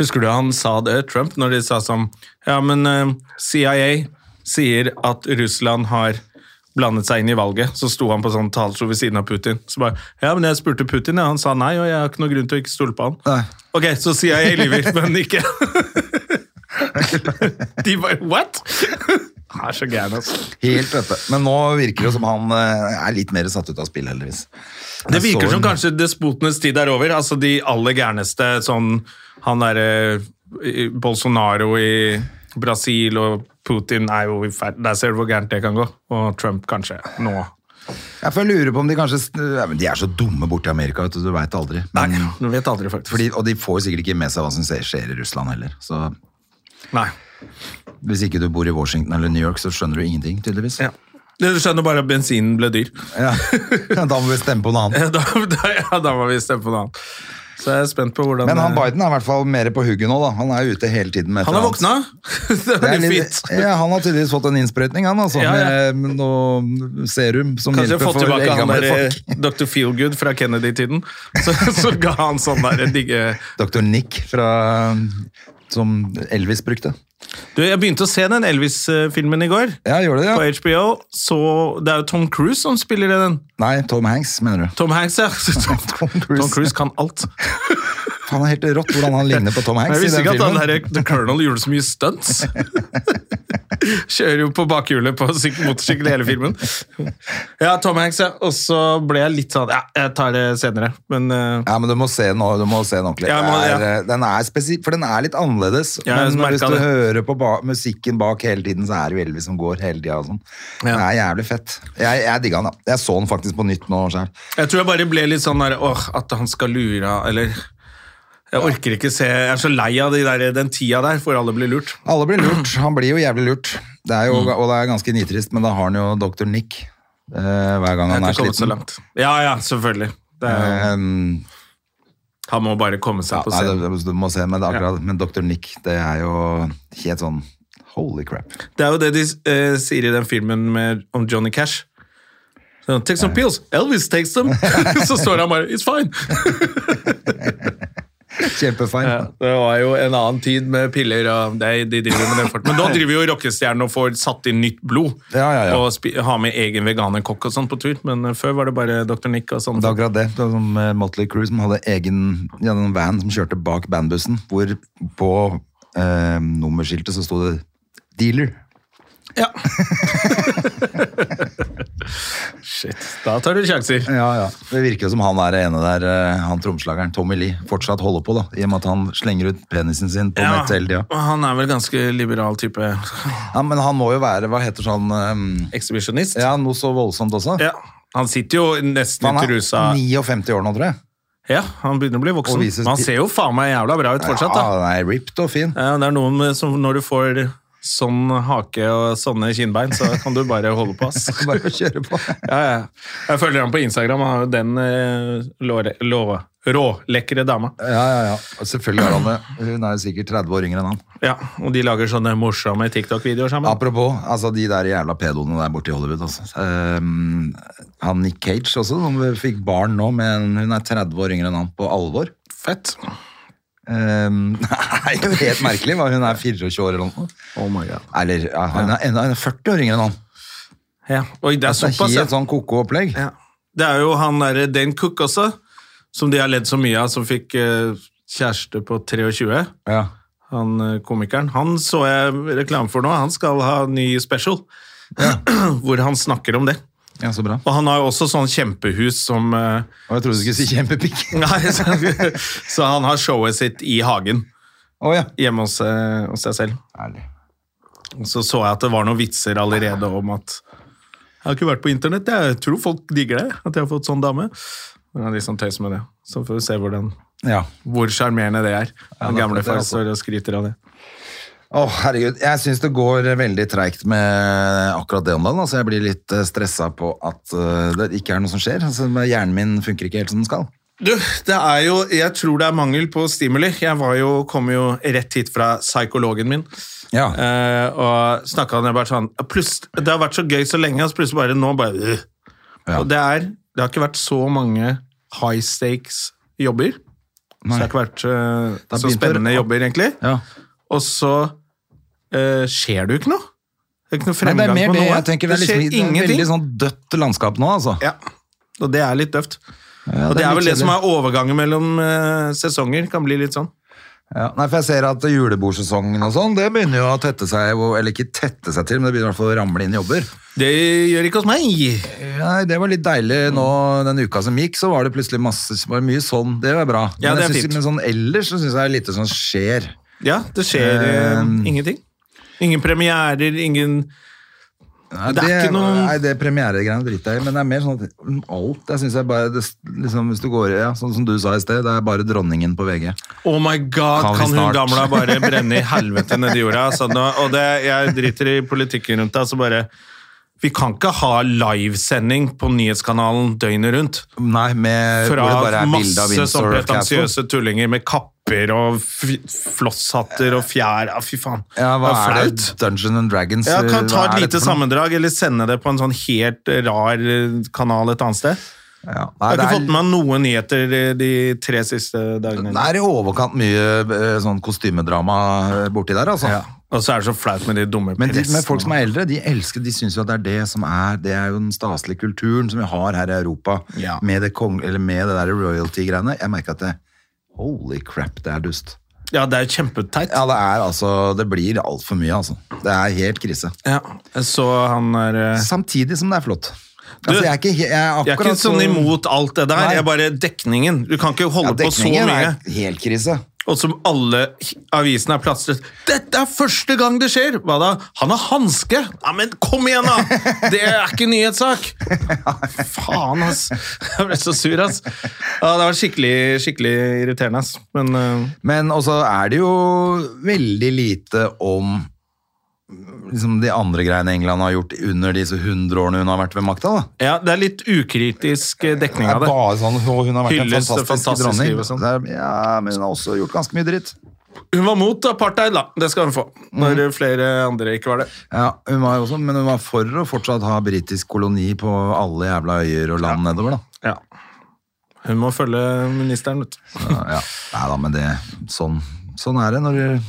S1: Husker du han sa det, Trump, når de sa sånn Ja, men eh, CIA sier at Russland har blandet seg inn i valget. Så sto han på sånn taleshow ved siden av Putin. Så bare Ja, men jeg spurte Putin, ja. Han sa nei, og jeg har ikke noe grunn til å ikke stole på han.
S2: Nei.
S1: Ok, så sier jeg jeg *laughs* lyver, men ikke *laughs* De bare What?! Han er så gæren, altså.
S2: Helt, vet du. Men nå virker det som han eh, er litt mer satt ut av spill, heldigvis.
S1: Det
S2: Jeg
S1: virker
S2: så
S1: som
S2: en-
S1: kanskje despotenes tid er over. Altså de aller gærneste, sånn han derre eh, Bolsonaro i Brasil og Putin er jo i ferd Der ser du hvor gærent det kan gå. Og Trump kanskje nå.
S2: Ja, for Jeg lurer på om de kanskje ja, men De er så dumme borte i Amerika, vet du. Du veit aldri. Men,
S1: Du vet aldri, faktisk.
S2: fordi, og de får sikkert ikke med seg hva som skjer- skjer i Russland heller. Så
S1: Nei.
S2: hvis ikke du bor i Washington eller New York, så skjønner du ingenting, tydeligvis.
S1: Ja. Du skjønner bare at
S2: *laughs*
S1: *laughs* bensinen ble dyr.
S2: Ja. da må vi stemme på noe annet.
S1: Da, da, ja, da må vi stemme på noe annet. Så jeg er spent på hvordan eh,
S2: Men han Biden er i hvert fall mer på hugget nå, da. Han er ute hele tiden med et
S1: Han har
S2: eller annet.
S1: våkna! *laughs* det er
S2: Det er
S1: veldig
S2: litt-
S1: fint.
S2: Ja, han har tydeligvis fått en innsprøytning, han, altså.
S1: Ja, ja.
S2: Med noe serum som
S1: Kanskje jeg har
S2: hjelper
S1: fått
S2: for
S1: tilbake han
S2: eldgamle
S1: der eh,
S2: folk.
S1: Dr. Feelgood fra Kennedy-tiden. *laughs* Så, så ga han sånn der digge
S2: Dr. Nick fra Som Elvis brukte.
S1: Du, jeg begynte å se den Elvis-filmen i går.
S2: Ja, gjorde det,
S1: På
S2: ja.
S1: HBO. Så det er jo Tom Cruise som spiller i den.
S2: Nei, Tom Hanks, mener du.
S1: Tom Hanks, ja. Tom,
S2: *laughs* Tom Cruise.
S1: Tom Cruise kan alt.
S2: Han er helt rått hvordan han ligner
S1: *laughs*
S2: på Tom
S1: Men
S2: Hanks
S1: jeg
S2: i
S1: visste
S2: den
S1: ikke at han
S2: filmen.
S1: der, The Colonel gjorde så mye
S2: *laughs*
S1: stunts. Kjører jo på bakhjulet på syk- motorsykkel hele filmen. Ja, Tom Hanks, ja. Og så ble jeg litt sånn Ja, jeg tar det senere. Men eh,
S2: Ja, men du må se den, du må se den ordentlig.
S1: Ja, jeg må-
S2: Det er, eh, den er spesi- for den er litt annerledes.
S1: Ja, jeg
S2: men hvis
S1: merket
S2: du
S1: det.
S2: hører på ba musikken bak hele tiden, så er det jo Elvis som går hele tida. og Sånn.
S1: Ja.
S2: Det er jævlig fett. Jeg, jeg digga den, da. Jeg så den faktisk på nytt nå sjøl.
S1: Jeg tror jeg bare ble litt sånn der Åh, at han skal lure av», Eller Jeg orker ikke se Jeg er så lei av de der, den tida der hvor alle blir lurt.
S2: Alle blir lurt. Han blir jo jævlig lurt. Det er
S1: Mm.
S2: jo, Og det er ganske nitrist, men da har han jo Dr. Nick eh, hver gang
S1: Jeg
S2: han
S1: har
S2: er
S1: ikke kommet så
S2: sliten.
S1: langt. Ja, ja, selvfølgelig. Det er,
S2: Um,
S1: han må bare komme seg
S2: ja,
S1: på
S2: nei,
S1: scenen.
S2: du, du må se, men, det er akkurat, men Dr. Nick, det er jo helt sånn Holy crap.
S1: Det er jo det de eh, sier i den filmen med, om Johnny Cash. Sånn, take
S2: Eh.
S1: some pills. Elvis takes
S2: *laughs*
S1: them. *laughs* så står han bare It's fine.
S2: Kjempefein.
S1: Ja, det var jo en annen tid med piller og Nei, de driver med det fort. Men
S2: *laughs*
S1: nå driver jo rockestjernen og får satt inn nytt blod.
S2: Ja, ja, ja.
S1: Og spi har med egen veganerkokk og sånn på tur. Men eh, før var det bare Dr. Nick og sånn.
S2: Det er akkurat det. Det var som eh, Motley Crue som hadde egen de hadde en van som kjørte bak bandbussen, hvor på eh, nummerskiltet så sto det 'dealer'.
S1: Ja. *laughs* Shit. Da tar du sjanser.
S2: Ja, ja. Det virker jo som han er ene der, eh, han trommeslageren Tommy Lee, fortsatt holder på, da, i og med at han slenger ut penisen sin på nett hele tida.
S1: og han er vel ganske liberal type
S2: Ja, men han må jo være, hva heter sånn eh,
S1: ekshibisjonist.
S2: Ja, noe så voldsomt også.
S1: Ja. Han sitter jo nesten
S2: Han
S1: i
S2: er
S1: trusa
S2: 59 år nå, tror jeg.
S1: Ja, han begynner å bli voksen.
S2: Og vises-
S1: Men han ser jo faen meg jævla bra ut fortsatt,
S2: Ja,
S1: da.
S2: han er ripped og fin.
S1: Ja, det er noen med- som når du får sånn hake og sånne kinnbein, så kan du bare holde på, ass.
S2: *laughs* Bare å kjøre på.
S1: Ja, ja. Jeg følger ham på Instagram, han har jo den eh, låre- lå- rålekre dama.
S2: Ja, ja, ja. Og Selvfølgelig er han det. Hun er jo sikkert 30 år yngre enn han.
S1: Ja, og de lager sånne morsomme TikTok-videoer sammen.
S2: Apropos, altså de der jævla pedoene der borte i Hollywood. Altså. Ehm, han Nick Cage også, som fikk barn nå, men hun er 30 år yngre enn han på alvor.
S1: Fett.
S2: Ehm, *laughs* det er jo helt merkelig, hva hun er 24 år eller noe.
S1: Oh my god.
S2: Eller ja, hun er enda hun er 40 år yngre enn han.
S1: Ja, Oi, det er
S2: Det er
S1: såpass, ja.
S2: helt sånn koko-opplegg.
S1: ja. Det er jo han derre Dane Cook også, som de har ledd så mye av, som fikk eh, kjæreste på 23.
S2: Ja.
S1: Han eh, komikeren. Han så jeg reklame for nå, han skal ha ny special. *clears throat* Hvor han snakker om det.
S2: ja, så bra.
S1: Og han har jo også sånn kjempehus som eh, *laughs*
S2: Og jeg trodde du skulle si kjempepikk.
S1: Nei, så, så han har showet sitt i hagen
S2: *laughs* Å ja.
S1: hjemme hos, eh, hos seg selv.
S2: Ærlig.
S1: Og Så så jeg at det var noen vitser allerede om at Jeg har ikke vært på internett, jeg tror folk digger det. At jeg har fått sånn dame. Men jeg liksom tøys med det. Så får vi se hvordan,
S2: Ja.
S1: hvor sjarmerende det er.
S2: det-
S1: Den gamle
S2: det er
S1: far
S2: altså-
S1: står og skryter av det.
S2: Å, herregud. Jeg syns det går veldig treigt med akkurat det om dagen. Altså, jeg blir litt stressa på at eh, det ikke er noe som skjer. Altså, hjernen min funker ikke helt som den skal.
S1: Du, det er jo, jeg tror det er mangel på stimuli. Jeg var jo, kom jo rett hit fra psykologen min,
S2: Ja.
S1: eh, og snakka med bare sånn pluss, Det har vært så gøy så lenge, og så plutselig bare nå bare øh.
S2: Ja.
S1: Og det er Det har ikke vært så mange high stakes-jobber. Så det har ikke vært eh,
S2: Da
S1: så
S2: begynte det-
S1: spennende jobber, egentlig.
S2: Ja.
S1: Og så eh, skjer det jo ikke noe. Det er ikke noe
S2: Nei,
S1: fremgang
S2: det er mer
S1: på
S2: det
S1: noe.
S2: jeg tenker. Det er, liksom, det er veldig sånn dødt landskap nå, altså.
S1: Ja, og det er litt døvt.
S2: Ja,
S1: og det er, vel
S2: litt
S1: det som
S2: kjedelig.
S1: er overgangen mellom eh, sesonger, kan bli litt sånn.
S2: ja. Nei, for jeg ser at julebordsesongen og sånn, det begynner jo å tette seg, eller ikke tette seg til, men det begynner i hvert fall å ramle inn jobber.
S1: Det gjør ikke hos meg.
S2: Nei, det var litt deilig nå den uka som gikk, så var det plutselig masse, var det mye sånn, det var bra.
S1: Ja,
S2: men,
S1: det er
S2: jeg synes,
S1: fint.
S2: men sånn ellers så synes jeg det er lite sånn skjer.
S1: Ja, det skjer eh,
S2: Um,
S1: ingenting. Ingen premierer, ingen
S2: Nei,
S1: Det er ikke noe-
S2: Nei, det premieregreiene driter jeg i, men det er mer sånn at mm, alt Jeg synes jeg bare det, liksom, Hvis du går ja, Sånn som du sa i sted, det er bare dronningen på VG.
S1: Oh my god,
S2: Kan vi
S1: kan, hun
S2: snart?
S1: gamla bare
S2: *laughs*
S1: brenne i helvete nedi jorda? Altså, nå, og det, jeg driter i politikken rundt det, altså bare Vi kan ikke ha livesending på nyhetskanalen døgnet rundt
S2: Nei, med, hvor det Eh, bare
S1: fra
S2: er bilde av
S1: masse sånn
S2: Windsor Castle.
S1: pretensiøse tullinger med kapper og fi- flosshatter og fjær. Ja, fy faen.
S2: Ja, hva
S1: Det
S2: er
S1: flaut.
S2: det? Dungeon and Dragons?
S1: Ja, kan ta
S2: hva
S1: et
S2: er
S1: lite
S2: dette for noe?
S1: sammendrag, eller sende det på en sånn helt rar eh, kanal et annet sted.
S2: Ja.
S1: Jeg
S2: Nei,
S1: har
S2: det
S1: ikke
S2: er-
S1: fått med meg noen nyheter eh, de tre siste dagene.
S2: Det er i overkant mye eh, sånn kostymedrama eh, borti der, altså.
S1: Ja. sånn- Og så er det så flaut med de dumme
S2: Men, de, men folk som
S1: pressene.
S2: er eldre, de elsker, de syns jo at det er det som er Det er jo den staselige kulturen som vi har her i Europa,
S1: Ja.
S2: med, det kong, eller med det der royalty-greiene. Jeg merker at det Holy crap, det er dust.
S1: Ja, det er jo kjempeteit.
S2: Ja, det er altså Det blir altfor mye, altså. Det er helt krise.
S1: Ja. Så han er eh,
S2: Samtidig som det er flott. altså, jeg er ikke, he- jeg er akkurat
S1: Jeg er ikke sånn
S2: så-
S1: imot alt det der,
S2: Nei.
S1: jeg er bare dekningen. Du kan ikke
S2: ja,
S1: holde på så
S2: Dekningen
S1: mye.
S2: er helt krise.
S1: Og som alle avisene er plastret. 'Dette er første gang det skjer!' Hva da? Han har hanske! Ja, men kom igjen, da! Det er ikke nyhetssak! Faen, ass. Jeg ble så sur, ass. Ja, det var skikkelig, skikkelig irriterende, ass. Men eh,
S2: Men også er det jo veldig lite om liksom de andre greiene England har gjort under disse 100 årene hun har vært ved makta. da.
S1: ja, det er litt ukritisk eh,
S2: Det
S1: dekning
S2: er
S1: av det.
S2: bare sånn, «Å, Hun har vært en
S1: Hylles det
S2: fantastisk,
S1: fantastiske
S2: dronning.
S1: livet og sånn.
S2: Det er- Ja, men hun har også gjort ganske mye dritt.
S1: Hun var mot apartheid, da. Det skal hun få. Når flere andre ikke var det.
S2: Ja, hun var jo også, Men hun var for å fortsatt ha britisk koloni på alle jævla øyer og land nedover, da.
S1: Ja. Hun må følge ministeren, vet du.
S2: Ja, ja. Nei da, men det Sånn, sånn er det når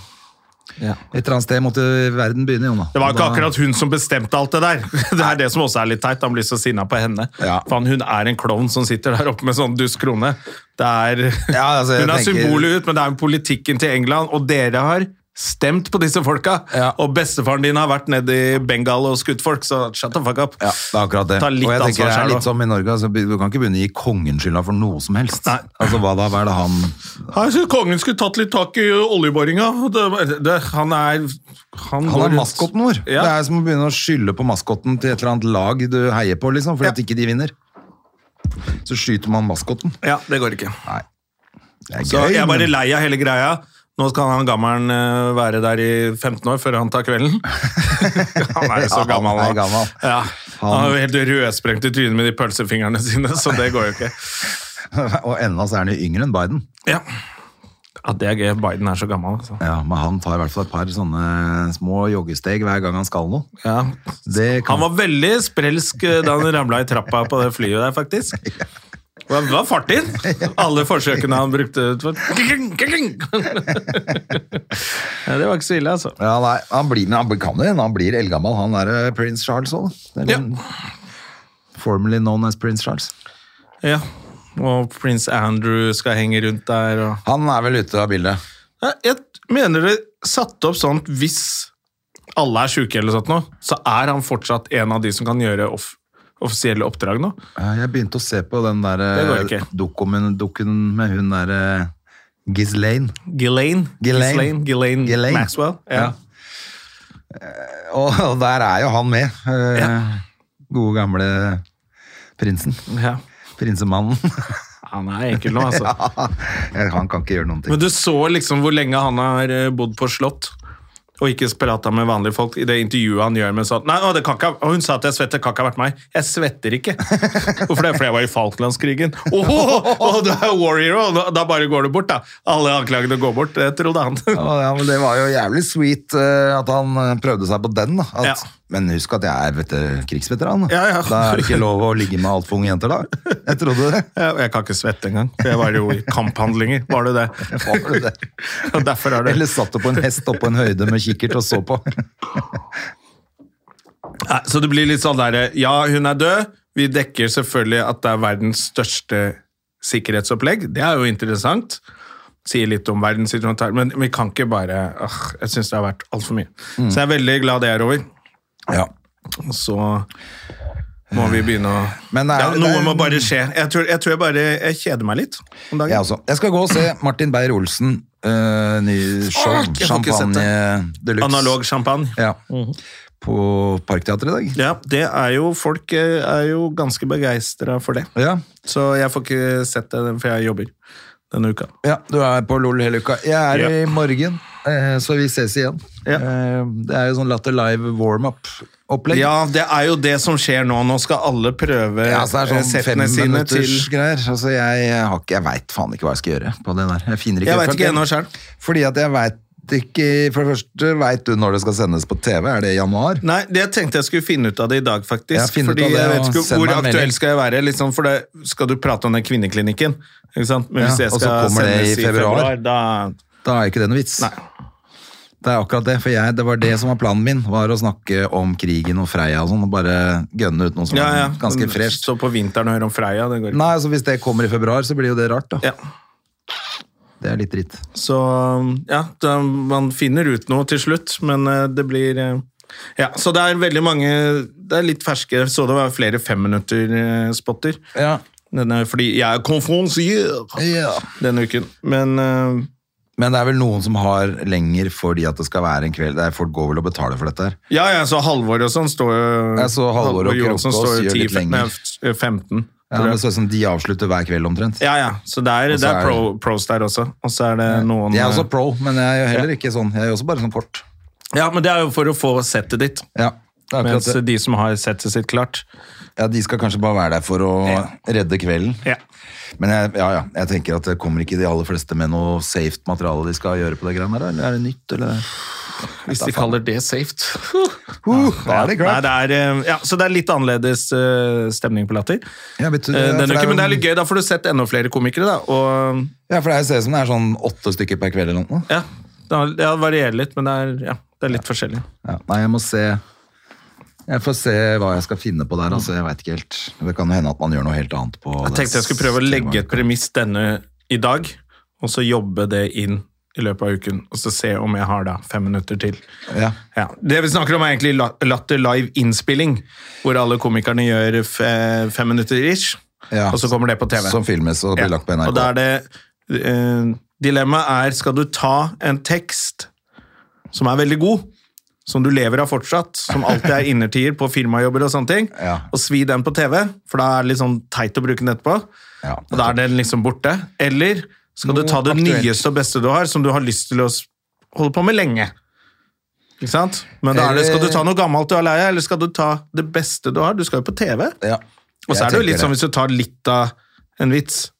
S1: Ja.
S2: Et eller annet sted måtte verden begynne, Jonna.
S1: Det var ikke
S2: Da-
S1: akkurat hun som bestemte alt det der. *laughs* Det er det som også er litt teit. Han blir så sinna på henne.
S2: Ja.
S1: For han, hun er en klovn som sitter der oppe med sånn dust krone. Det er,
S2: Ja, altså,
S1: *laughs*
S2: jeg
S1: hun er
S2: tenker-
S1: symbolet ut, men det er jo politikken til England, og dere har stemt på disse folka.
S2: Ja.
S1: Og bestefaren din har vært nede i Bengal og skutt folk, så shut the fuck up.
S2: Ja, det er akkurat det.
S1: Ta litt
S2: og jeg tenker
S1: ansvar
S2: det er
S1: selv,
S2: litt
S1: da.
S2: som i Norge, altså, du kan ikke begynne å gi kongen skylda for noe som helst.
S1: Nei.
S2: Altså, hva da, hva er det han...
S1: Jeg synes kongen skulle tatt litt tak i oljeboringa. Det- det- Han er Han,
S2: Han
S1: går
S2: er
S1: rundt-
S2: maskotten vår.
S1: Ja.
S2: Det er som å begynne å skylde på maskotten til et eller annet lag du heier på, liksom, fordi
S1: Ja.
S2: at ikke de vinner. Så skyter man maskotten.
S1: Ja, det går ikke.
S2: Nei. Det er
S1: Så
S2: gøy,
S1: jeg er bare
S2: men-
S1: lei av hele greia. Nå skal han gammelen eh, være der i 15 år før han tar *laughs* kvelden. han er jo så
S2: Ja,
S1: gammel nå.
S2: han er gammel.
S1: Ja. Han
S2: Han-
S1: er jo helt rødsprengt i trynet med de pølsefingrene sine, så det går jo ikke.
S2: *laughs* Og enda så er han jo yngre enn Biden.
S1: Ja. ja, det er gøy. Biden er så gammel, altså.
S2: Ja, men han tar i hvert fall et par sånne små joggesteg hver gang han skal noe.
S1: Ja.
S2: Det kan...
S1: Han var veldig sprelsk eh, da han ramla i trappa på det flyet der, faktisk. Hva var fart inn? Alle forsøkene han brukte ut for ja, Det var ikke så ille, altså.
S2: Ja, nei, han blir, men han kan jo hende han blir eldgammel, han er eh, prins Charles også. da. Det er
S1: Ja.
S2: en- Formerly known as prins Charles.
S1: Ja, og prins Andrew skal henge rundt der. Og...
S2: Han er vel ute av bildet.
S1: Nei, Jeg mener det satt opp sånn at hvis alle er syke eller sånt nå, så er han fortsatt en av de som kan gjøre off offisielle oppdrag nå.
S2: Eh, Jeg begynte å se på den der eh,
S1: Det går ikke.
S2: dokumen, dukken med hun der eh, Ghislaine.
S1: Ghislaine.
S2: Ghislaine.
S1: Ghislaine. Ghislaine
S2: Ghislaine.
S1: Maxwell. Ja.
S2: Og og der er jo han med. eh,
S1: Ja.
S2: Gode gamle prinsen.
S1: Ja.
S2: Prinsemannen. *laughs*
S1: Han er enkel nå, altså.
S2: han kan ikke gjøre noen ting.
S1: Men du så liksom hvor lenge han har eh, bodd på slott. Og ikke prata med vanlige folk i det intervjuet han gjør med sånn Nei, å, det kan ikke, ha- og Hun sa at jeg svetter, det kan ikke ha vært meg. Jeg svetter ikke. Hvorfor det? Fordi jeg var i Falklandskrigen. *laughs* Åh, åh, du er warrior, og da- da bare går du bort, da. Alle anklagene går bort, det trodde han. *laughs*
S2: Ja, ja, men det var jo jævlig sweet eh, at han eh, prøvde seg på den. Da. At,
S1: Ja.
S2: Men husk at jeg er veter- krigsveteran. da.
S1: Ja, ja.
S2: Da er det ikke lov å ligge med altfor unge jenter, da. Jeg trodde det.
S1: Ja, og Jeg kan ikke svette engang, for jeg var jo i kamphandlinger. Var du det?
S2: Var du det?
S1: Og derfor er det
S2: Eller satt du på en hest oppå en høyde med kikkert og så på.
S1: Nei, Så det blir litt sånn der, ja, hun er død. Vi dekker selvfølgelig at det er verdens største sikkerhetsopplegg. Det er jo interessant. Sier litt om verdenssituasjonen, her, men vi kan ikke bare åh, Jeg syns det har vært altfor mye.
S2: Mm.
S1: Så jeg er veldig glad det er over.
S2: Ja.
S1: Og så må vi begynne å
S2: Men det er-
S1: ja, Noe
S2: det er-
S1: må bare skje. Jeg tror jeg, tror jeg bare jeg kjeder meg litt om dagen.
S2: Jeg også. Jeg skal gå og se Martin Beyer-Olsen. eh, ny show.
S1: Åh, jeg får ikke sett
S2: Champagne de luxe.
S1: Analog Mhm. champagne.
S2: Ja. På Parkteatret i dag.
S1: Ja, det er jo Folk eh, er jo ganske begeistra for det.
S2: Ja.
S1: Så jeg får ikke sett det, for jeg jobber denne uka.
S2: ja, du er på LOL hele uka. Jeg er
S1: Ja.
S2: i morgen, eh, så vi ses igjen.
S1: Ja.
S2: Eh, det er jo sånn Latter Live warm-up opplegg.
S1: Ja, det er jo det som skjer nå. Nå skal alle prøve
S2: Ja, så det
S1: eh,
S2: er sånn
S1: settene sine til
S2: femminuttersgreier. Altså, jeg har ikke- jeg veit faen ikke hva jeg skal gjøre på det der. Jeg finner ikke
S1: Jeg
S2: helt
S1: vet ikke
S2: frem til.
S1: ennå selv.
S2: Fordi at jeg veit ikke For det første, veit du når det skal sendes på TV? Er det i januar?
S1: Nei, det tenkte jeg skulle finne ut av det i dag, faktisk.
S2: Ja, finn ut
S1: fordi
S2: av det,
S1: jeg
S2: og
S1: vet ikke
S2: send
S1: Hvor
S2: meg en melding.
S1: aktuell skal jeg være? Liksom, for det, skal du prate om den kvinneklinikken? Ikke sant? Men hvis
S2: Ja,
S1: jeg
S2: og så
S1: skal
S2: kommer det i
S1: sendes i februar,
S2: februar.
S1: da
S2: Da er ikke det noe vits.
S1: Nei.
S2: Det er akkurat det, for jeg, det var det som var planen min. Var å snakke om krigen og Freia og sånn, og bare gønne ut noe som
S1: ja, ja. Mm.
S2: er Mm, ganske fresht.
S1: Så på vinteren og høre om Freia. Det går. ikke.
S2: Nei, altså Hvis det kommer i februar, så blir jo det rart. da.
S1: Ja.
S2: Det er litt dritt.
S1: Så ja, da, man finner ut noe til slutt, men eh, det blir eh, Ja, så det er veldig mange Det er litt ferske. Jeg så det var flere eh, femminutter-spotter.
S2: Ja.
S1: Fordi jeg er konferansier denne uken. Men eh,
S2: Men det er vel noen som har lenger fordi at det skal være en kveld. Det er, folk går vel og betaler for dette her.
S1: Ja, jeg så Halvor og sånn står jo
S2: Jeg så Halvor og
S1: Johansen
S2: Krokås
S1: står jo
S2: gjør
S1: 10,
S2: litt lenger.
S1: nei, 15.
S2: Ja, men sånn som De avslutter hver kveld omtrent.
S1: Ja, ja. Så det er,
S2: Og så
S1: det er,
S2: er
S1: pro, pros der også. Og så er det noen
S2: Jeg er også pro, men jeg er jo heller ikke sånn. Jeg er jo også bare sånn kort.
S1: eh, Ja, men det er jo for å få settet ditt.
S2: Ja, det er
S1: Mens
S2: akkurat
S1: de
S2: det.
S1: som har settet sitt klart
S2: Ja, De skal kanskje bare være der for å redde kvelden.
S1: Ja.
S2: Men jeg, ja, ja, jeg tenker at det kommer ikke de aller fleste med noe safe materiale de skal gjøre på det greiene der, eller er det nytt, eller?
S1: Hvis de kaller det safe.
S2: Uh, *laughs* da er det
S1: Nei,
S2: crap.
S1: det er, eh, ja, så det er litt annerledes eh, stemning på Latter.
S2: Ja, vet du,
S1: Eh,
S2: for
S1: Denne
S2: det er
S1: uken,
S2: jo-
S1: men det er litt gøy, da får du sett enda flere komikere. da, og
S2: Ja, for det er jo ser ut som det er sånn åtte stykker per kveld eller noe.
S1: ja, Det er- ja, det varierer litt, men det er, ja, det er litt forskjellig.
S2: Ja, nei, jeg må se Jeg får se hva jeg skal finne på der, altså. Jeg veit ikke helt. Det kan jo hende at man gjør noe helt annet på
S1: Jeg tenkte jeg skulle prøve å legge et premiss denne i dag, og så jobbe det inn i løpet av uken, og så se om jeg har da fem minutter til.
S2: Ja.
S1: Ja. Det vi snakker om er egentlig la- Latter Live innspilling, hvor alle komikerne gjør fe- fem minutter ish,
S2: Ja.
S1: og så kommer det på TV.
S2: Som filmes og blir
S1: Ja,
S2: lagt på NRK.
S1: Og da er det eh, Dilemmaet er skal du ta en tekst som er veldig god, som du lever av fortsatt, som alltid
S2: *laughs*
S1: er innertier på firmajobber og sånne ting,
S2: Ja.
S1: og svi den på TV, for da er det litt sånn teit å bruke den etterpå.
S2: Ja.
S1: Og da er den liksom borte. Eller skal
S2: Noe
S1: du ta det
S2: aktuelt.
S1: nyeste og beste du har, som du har lyst til å s- holde på med lenge. Ikke sant? Men da er det, skal du ta noe gammelt du er lei av, eller skal du ta det beste du har? Du skal jo på TV.
S2: Ja.
S1: Og så
S2: Jeg
S1: er det jo litt
S2: tenker
S1: sånn hvis du tar litt av en vits,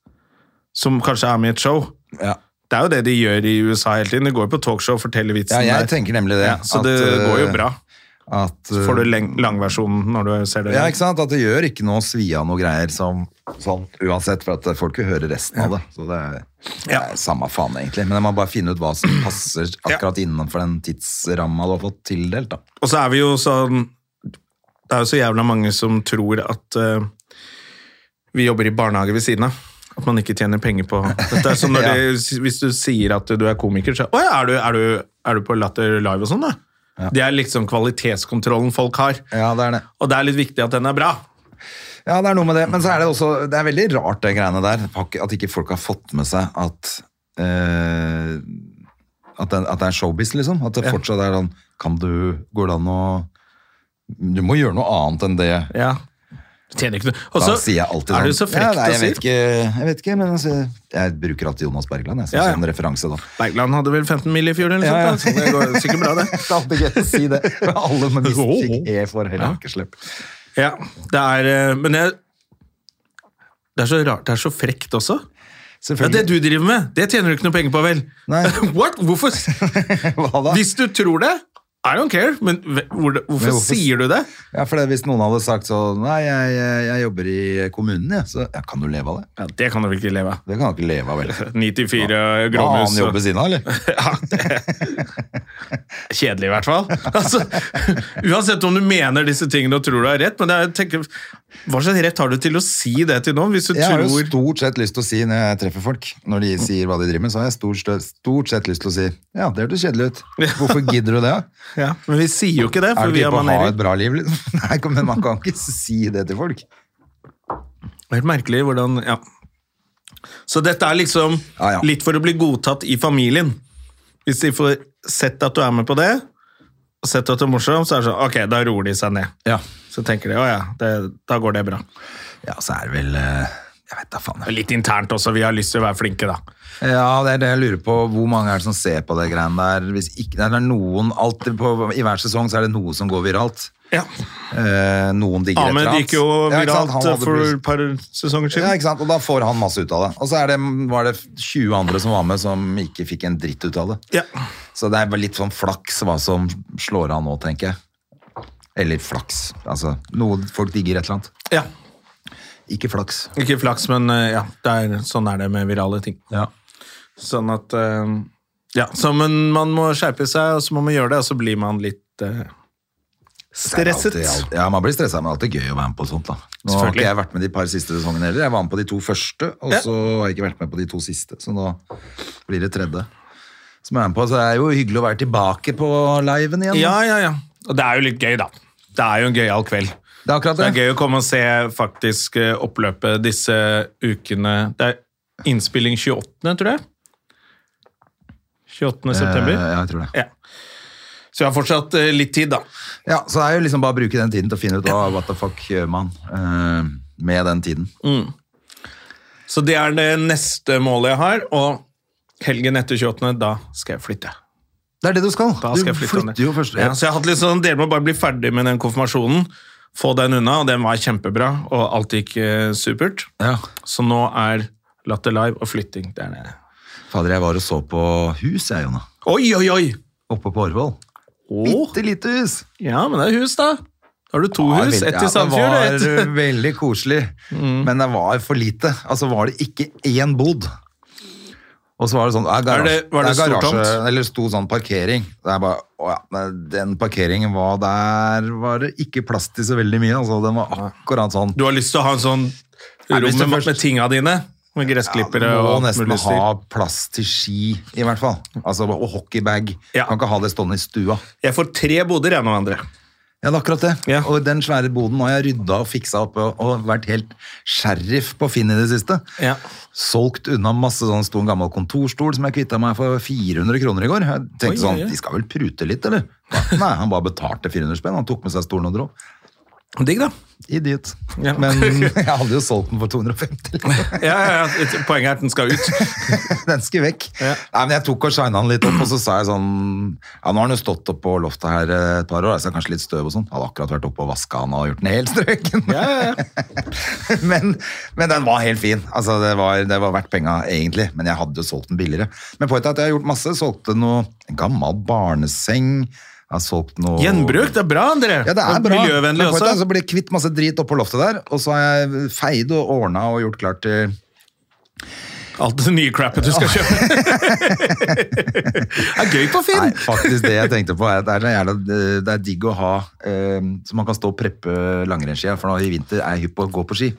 S1: som kanskje er med i et show.
S2: ja.
S1: Det er jo det de gjør i USA hele tiden. De går jo på talkshow og forteller vitsen.
S2: ja, jeg
S1: der.
S2: tenker nemlig det.
S1: ja, så
S2: at,
S1: det
S2: eh,
S1: går jo bra.
S2: At, eh,
S1: Så får du leng- langversjonen når du ser det.
S2: ja, ikke sant? At det gjør ikke noe å svi av noe greier som sånn, uansett, for at folk vil høre resten av det. Så det er, det
S1: Ja.
S2: er samme faen, egentlig. Men jeg må bare finne ut hva
S1: *clears throat*
S2: som passer akkurat innenfor den tidsramma du har fått tildelt, da.
S1: Og så er vi jo sånn Det er jo så jævla mange som tror at eh, vi jobber i barnehage ved siden av. At man ikke tjener penger på dette.
S2: *laughs*
S1: er Som når
S2: Ja.
S1: de, hvis du sier at du er komiker, så Å ja, er du, er du, er du på Latter Live og sånn, da? Det er liksom kvalitetskontrollen folk har.
S2: Ja, det er det.
S1: Og det er litt viktig at den er bra.
S2: Ja, det er noe med det. Men så er det også Det er veldig rart, det greiene der. At ikke folk har fått med seg at eh, at, det, at det er showbiz, liksom. At det fortsatt er sånn Kan du Går det an å Du må gjøre noe annet enn det.
S1: Ja. Du Tjener ikke noe. Og
S2: Da
S1: så
S2: sier jeg alltid
S1: er
S2: sånn
S1: det jo så frekt
S2: ja, nei, jeg
S1: å si.
S2: vet ikke, jeg vet ikke, men altså, jeg bruker alltid Jonas Bergland jeg, som
S1: Ja, ja.
S2: en referanse, da.
S1: Bergland hadde vel 15 mill. i fjor, eller noe
S2: Ja, ja.
S1: sånt. da. Så det går sikkert bra, det.
S2: *laughs*
S1: Oh.
S2: Det er alltid gøy å si det. Men Alle
S1: *laughs*
S2: med mistikk er for heller ikke slipp.
S1: Ja, det er eh, Men jeg det er så rart. Det er så frekt også. Ja, det du driver med, det tjener du ikke noe penger på, vel?
S2: Nei.
S1: *laughs* What? Hvorfor?
S2: *laughs* Hva da?
S1: Hvis du tror det, I don't care, men ve- hvor, hvorfor,
S2: Men hvorfor-
S1: sier du det?
S2: Ja, for det, Hvis noen hadde sagt sånn Nei, jeg, jeg, jeg jobber i kommunen, jeg. Så ja, kan du leve av det?
S1: Ja, det kan du vel ikke leve av.
S2: Det kan han ikke leve av, vel?
S1: 94 ja.
S2: Hva
S1: *laughs* gråmus.
S2: annen jobb ved
S1: og-
S2: siden av,
S1: *laughs* Ja,
S2: eller?
S1: det Kjedelig, i hvert fall. *laughs* Altså, uansett om du mener disse tingene og tror du har rett, men jeg tenker, hva slags rett har du til å si det til noen? Hvis du
S2: Jeg har jo
S1: tror
S2: stort sett lyst til å si når jeg treffer folk, når de sier hva de driver med, så har jeg stort, stø- stort sett lyst til å si ja, det hørtes kjedelig ut. Hvorfor gidder
S1: *laughs*
S2: du det? da?
S1: ja, Men vi sier jo ikke det,
S2: Er
S1: for
S2: du
S1: vi har
S2: ikke på å ha
S1: manerer.
S2: et bra liv? liksom? *laughs* Nei, kom, men man kan ikke si det til folk.
S1: Det er Helt merkelig hvordan Ja. Så dette er liksom
S2: Ja, ja.
S1: litt for å bli godtatt i familien. Hvis de får sett at du er med på det, og sett at du er morsom, så er det sånn Ok, da roer de seg ned.
S2: Ja.
S1: Så tenker de å ja, det, da går det bra.
S2: Ja, så er det vel eh, Jeg vet da faen. jeg.
S1: Litt internt også, vi har lyst til å være flinke, da.
S2: Ja, det er det jeg lurer på. Hvor mange er det som ser på det greiene der? Hvis ikke, det er noen, alltid på, I hver sesong så er det noe som går viralt.
S1: Ja.
S2: Eh, noen digger et
S1: Ahmed
S2: eller
S1: gikk jo
S2: annet. Ja, ikke
S1: pirat
S2: sant? Han hadde
S1: for
S2: blues.
S1: et par sesonger
S2: Ja,
S1: siden.
S2: ikke sant? Og da får han masse ut av det. Og så er det, var det 20 andre som var med, som ikke fikk en dritt ut av det.
S1: Ja.
S2: Så det er bare litt sånn flaks hva som slår an nå, tenker jeg. Eller flaks. Altså, noe folk digger et eller annet.
S1: ja.
S2: Ikke flaks.
S1: Ikke flaks, men eh, ja, det er, sånn er det med virale ting. Sånn at eh, Ja, så men man må skjerpe seg, og så må man gjøre det, og så blir man litt eh,
S2: Det er
S1: stresset.
S2: alltid- alt- ja, man blir stresset, men det er alltid gøy å være med på sånt, da. Nå har
S1: Selvfølgelig.
S2: ikke jeg vært med de par siste sesongene heller. Jeg var med på de to første, og
S1: Ja.
S2: så har jeg ikke vært med på de to siste, så nå blir det tredje. Som jeg er med på, så det er jo hyggelig å være tilbake på liven igjen. da.
S1: Ja, ja, ja. Og det er jo litt gøy, da. Det er jo en gøyal kveld.
S2: Det er akkurat
S1: Det
S2: det.
S1: er gøy å komme og se faktisk eh, oppløpet disse ukene. Det er innspilling 28., tror jeg. 28. september.
S2: Eh, ja, jeg tror det.
S1: Ja. Så jeg har fortsatt eh, litt tid, da.
S2: Ja, så det er jo liksom bare å bruke den tiden til å finne ut hva what the fuck gjør man eh, med den tiden.
S1: Så det er det neste målet jeg har, og helgen etter 28., da skal jeg flytte.
S2: Det er det du skal.
S1: Da
S2: du
S1: skal jeg flytte ned.
S2: flytter jo først.
S1: Ja, så jeg har hatt litt sånn, dere må bare bli ferdig med den konfirmasjonen. Få den unna, og den var kjempebra, og alt gikk eh, supert.
S2: Ja.
S1: Så nå er Latter Live og flytting der nede.
S2: Fader, jeg var og så på hus, jeg, Jonna.
S1: Oi, oi, oi!
S2: Oppe på Årvoll.
S1: Åh,
S2: Bitte lite hus.
S1: ja, men det er hus, da. Da har du to
S2: Ja,
S1: hus.
S2: veldig-
S1: Ett
S2: ja,
S1: i Sandfjord og
S2: Det
S1: ett
S2: var *laughs* veldig koselig,
S1: Mm.
S2: men det var for lite. Altså var det ikke én bod. Og så var det sånn ja, garasje,
S1: Er det- var det
S2: er
S1: stor
S2: garasje,
S1: tomt?
S2: Eller sto sånn parkering. Det er bare, å ja, nei, den parkeringen var der Var det ikke plass til så veldig mye. Altså, den var akkurat sånn.
S1: Du har lyst til å ha en sånn
S2: Nei, hvis
S1: rom
S2: du
S1: med,
S2: først-
S1: med tinga dine. Med
S2: Du
S1: gressklippere
S2: må
S1: og alt
S2: nesten
S1: mulig styr.
S2: ha plass til ski, i hvert fall. Altså, og hockeybag.
S1: Ja.
S2: Kan ikke ha det stående i stua.
S1: Jeg får tre boder, jeg nå, André.
S2: Ja, det er akkurat det.
S1: Ja.
S2: Og den svære boden har jeg rydda og fiksa opp og, og vært helt sheriff på Finn i det siste.
S1: Ja.
S2: Solgt unna masse sånn stor gammel kontorstol som jeg kvitta meg for 400 kroner i går. Jeg tenkte
S1: Oi, oi,
S2: sånn,
S1: oi.
S2: de skal vel prute litt, eller? Nei, han bare betalte 400 spenn. Han tok med seg stolen og dro.
S1: Digg, da.
S2: Idiot.
S1: Ja. *laughs*
S2: Men jeg hadde jo solgt den for 250. liksom.
S1: Ja, ja, ja. Poenget er at den skal ut.
S2: *laughs* Den skulle vekk. Nei, men Jeg tok og shina den litt opp, og så sa jeg sånn Ja, nå har den jo stått oppå loftet her eh, et par år, så det er kanskje litt støv og sånn. Hadde akkurat vært oppe og vaska den og gjort den helt strøken. *laughs* men, men den var helt fin. Altså, det var, det var verdt penga, egentlig. Men jeg hadde jo solgt den billigere. Men poenget er at jeg har gjort masse. Solgte noe en gammel barneseng. Jeg har solgt noe
S1: *laughs* Gjenbruk, det er bra, André.
S2: ja, det er
S1: Og
S2: bra.
S1: Miljøvennlig
S2: Men poenget er
S1: også.
S2: Så blir jeg kvitt masse drit oppå loftet der, og så har jeg feid og ordna og gjort klart til
S1: Alt det nye crappet du skal
S2: *laughs*
S1: kjøpe. det er gøy på Finn.
S2: Nei, faktisk det jeg tenkte på er at det er, så jævla, det er digg å ha eh, så man kan stå og preppe langrennsskia, for nå i vinter er jeg hypp på å gå på ski.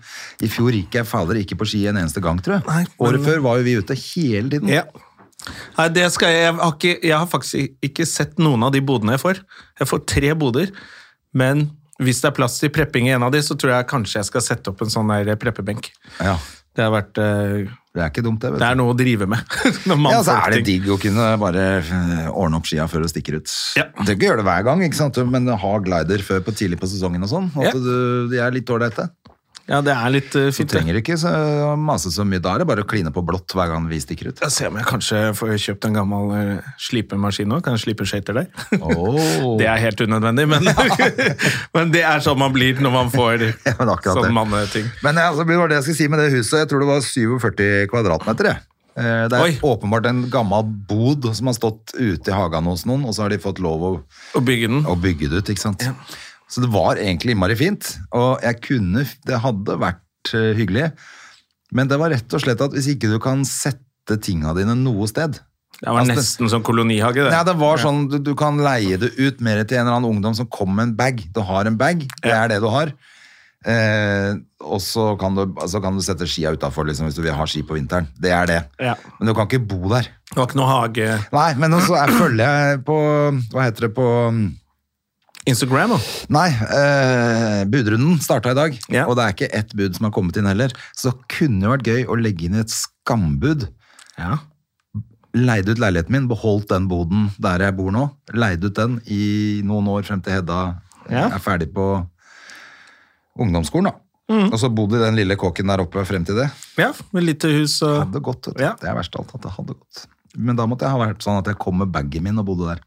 S2: I fjor gikk jeg fader ikke på ski en eneste gang, tror jeg.
S1: Nei, men-
S2: Året før var jo vi ute hele tiden.
S1: Ja. Nei, det skal jeg, jeg, har ikke, jeg har faktisk ikke sett noen av de bodene jeg får. Jeg får tre boder, men hvis det er plass til prepping i en av de, så tror jeg kanskje jeg skal sette opp en sånn der preppebenk.
S2: Ja,
S1: Det har vært eh,
S2: det er ikke dumt det, vet
S1: Det er
S2: du.
S1: noe å drive med. *laughs* Når man
S2: Ja, så
S1: får
S2: er det
S1: ting.
S2: digg å kunne bare eh, ordne opp skia før du stikker ut.
S1: Ja.
S2: Du trenger ikke gjøre det hver gang, ikke sant? men ha glider før på tidlig på sesongen og sånn. og
S1: Ja.
S2: At du, de er litt ålreite.
S1: Ja, det er litt eh,
S2: Du
S1: fint. det.
S2: trenger ikke så, mase så mye. Da er det bare å kline på blått hver gang vi stikker ut.
S1: Jeg ser om jeg kanskje får kjøpt en gammel eh, slipemaskin òg. Kan jeg slipe skøyter der?
S2: Åh.
S1: *laughs* Det er helt unødvendig,
S2: *laughs*
S1: men, men det er sånn man blir når man får
S2: Ja, men akkurat
S1: sånn
S2: det.
S1: manneting.
S2: Men ja, altså, det var det jeg skulle si med det huset. Jeg tror det var 47 kvadratmeter. jeg. Eh, Det er
S1: Oi.
S2: åpenbart en gammel bod som har stått ute i hagen hos noen, og så har de fått lov å,
S1: Å bygge den.
S2: å bygge det ut. ikke sant? Så det var egentlig innmari fint, og jeg kunne, det hadde vært eh, hyggelig. Men det var rett og slett at hvis ikke du kan sette tinga dine noe sted,
S1: Det var
S2: Altså,
S1: nesten som kolonihage, *laughs* det.
S2: Nei, det var sånn, du, du kan leie det ut mer til en eller annen ungdom som kommer med en bag. Du har en bag, det er det du har. Eh, og så kan, du- altså kan du sette skia utafor liksom, hvis du vil ha ski på vinteren. Det er det.
S1: Ja.
S2: Men du kan ikke bo der.
S1: Det var ikke noe hage
S2: Nei, men så er, følger jeg på Hva heter det på
S1: Instagram, da.
S2: Nei, eh, budrunden starta i dag,
S1: Ja.
S2: og det er ikke ett bud som har kommet inn heller. Så det kunne jo vært gøy å legge inn et skambud.
S1: Ja.
S2: leide ut leiligheten min, beholdt den boden der jeg bor nå, leide ut den i noen år frem til Hedda eh,
S1: Ja.
S2: er ferdig på ungdomsskolen da.
S1: Mm.
S2: Og så bodde i den lille kåken der oppe frem til det.
S1: ja med lite hus
S2: Det
S1: og
S2: hadde gått, vet du.
S1: Ja.
S2: Det er verst av alt at det hadde gått. Men da måtte jeg ha vært sånn at jeg kom med baggen min og bodde der.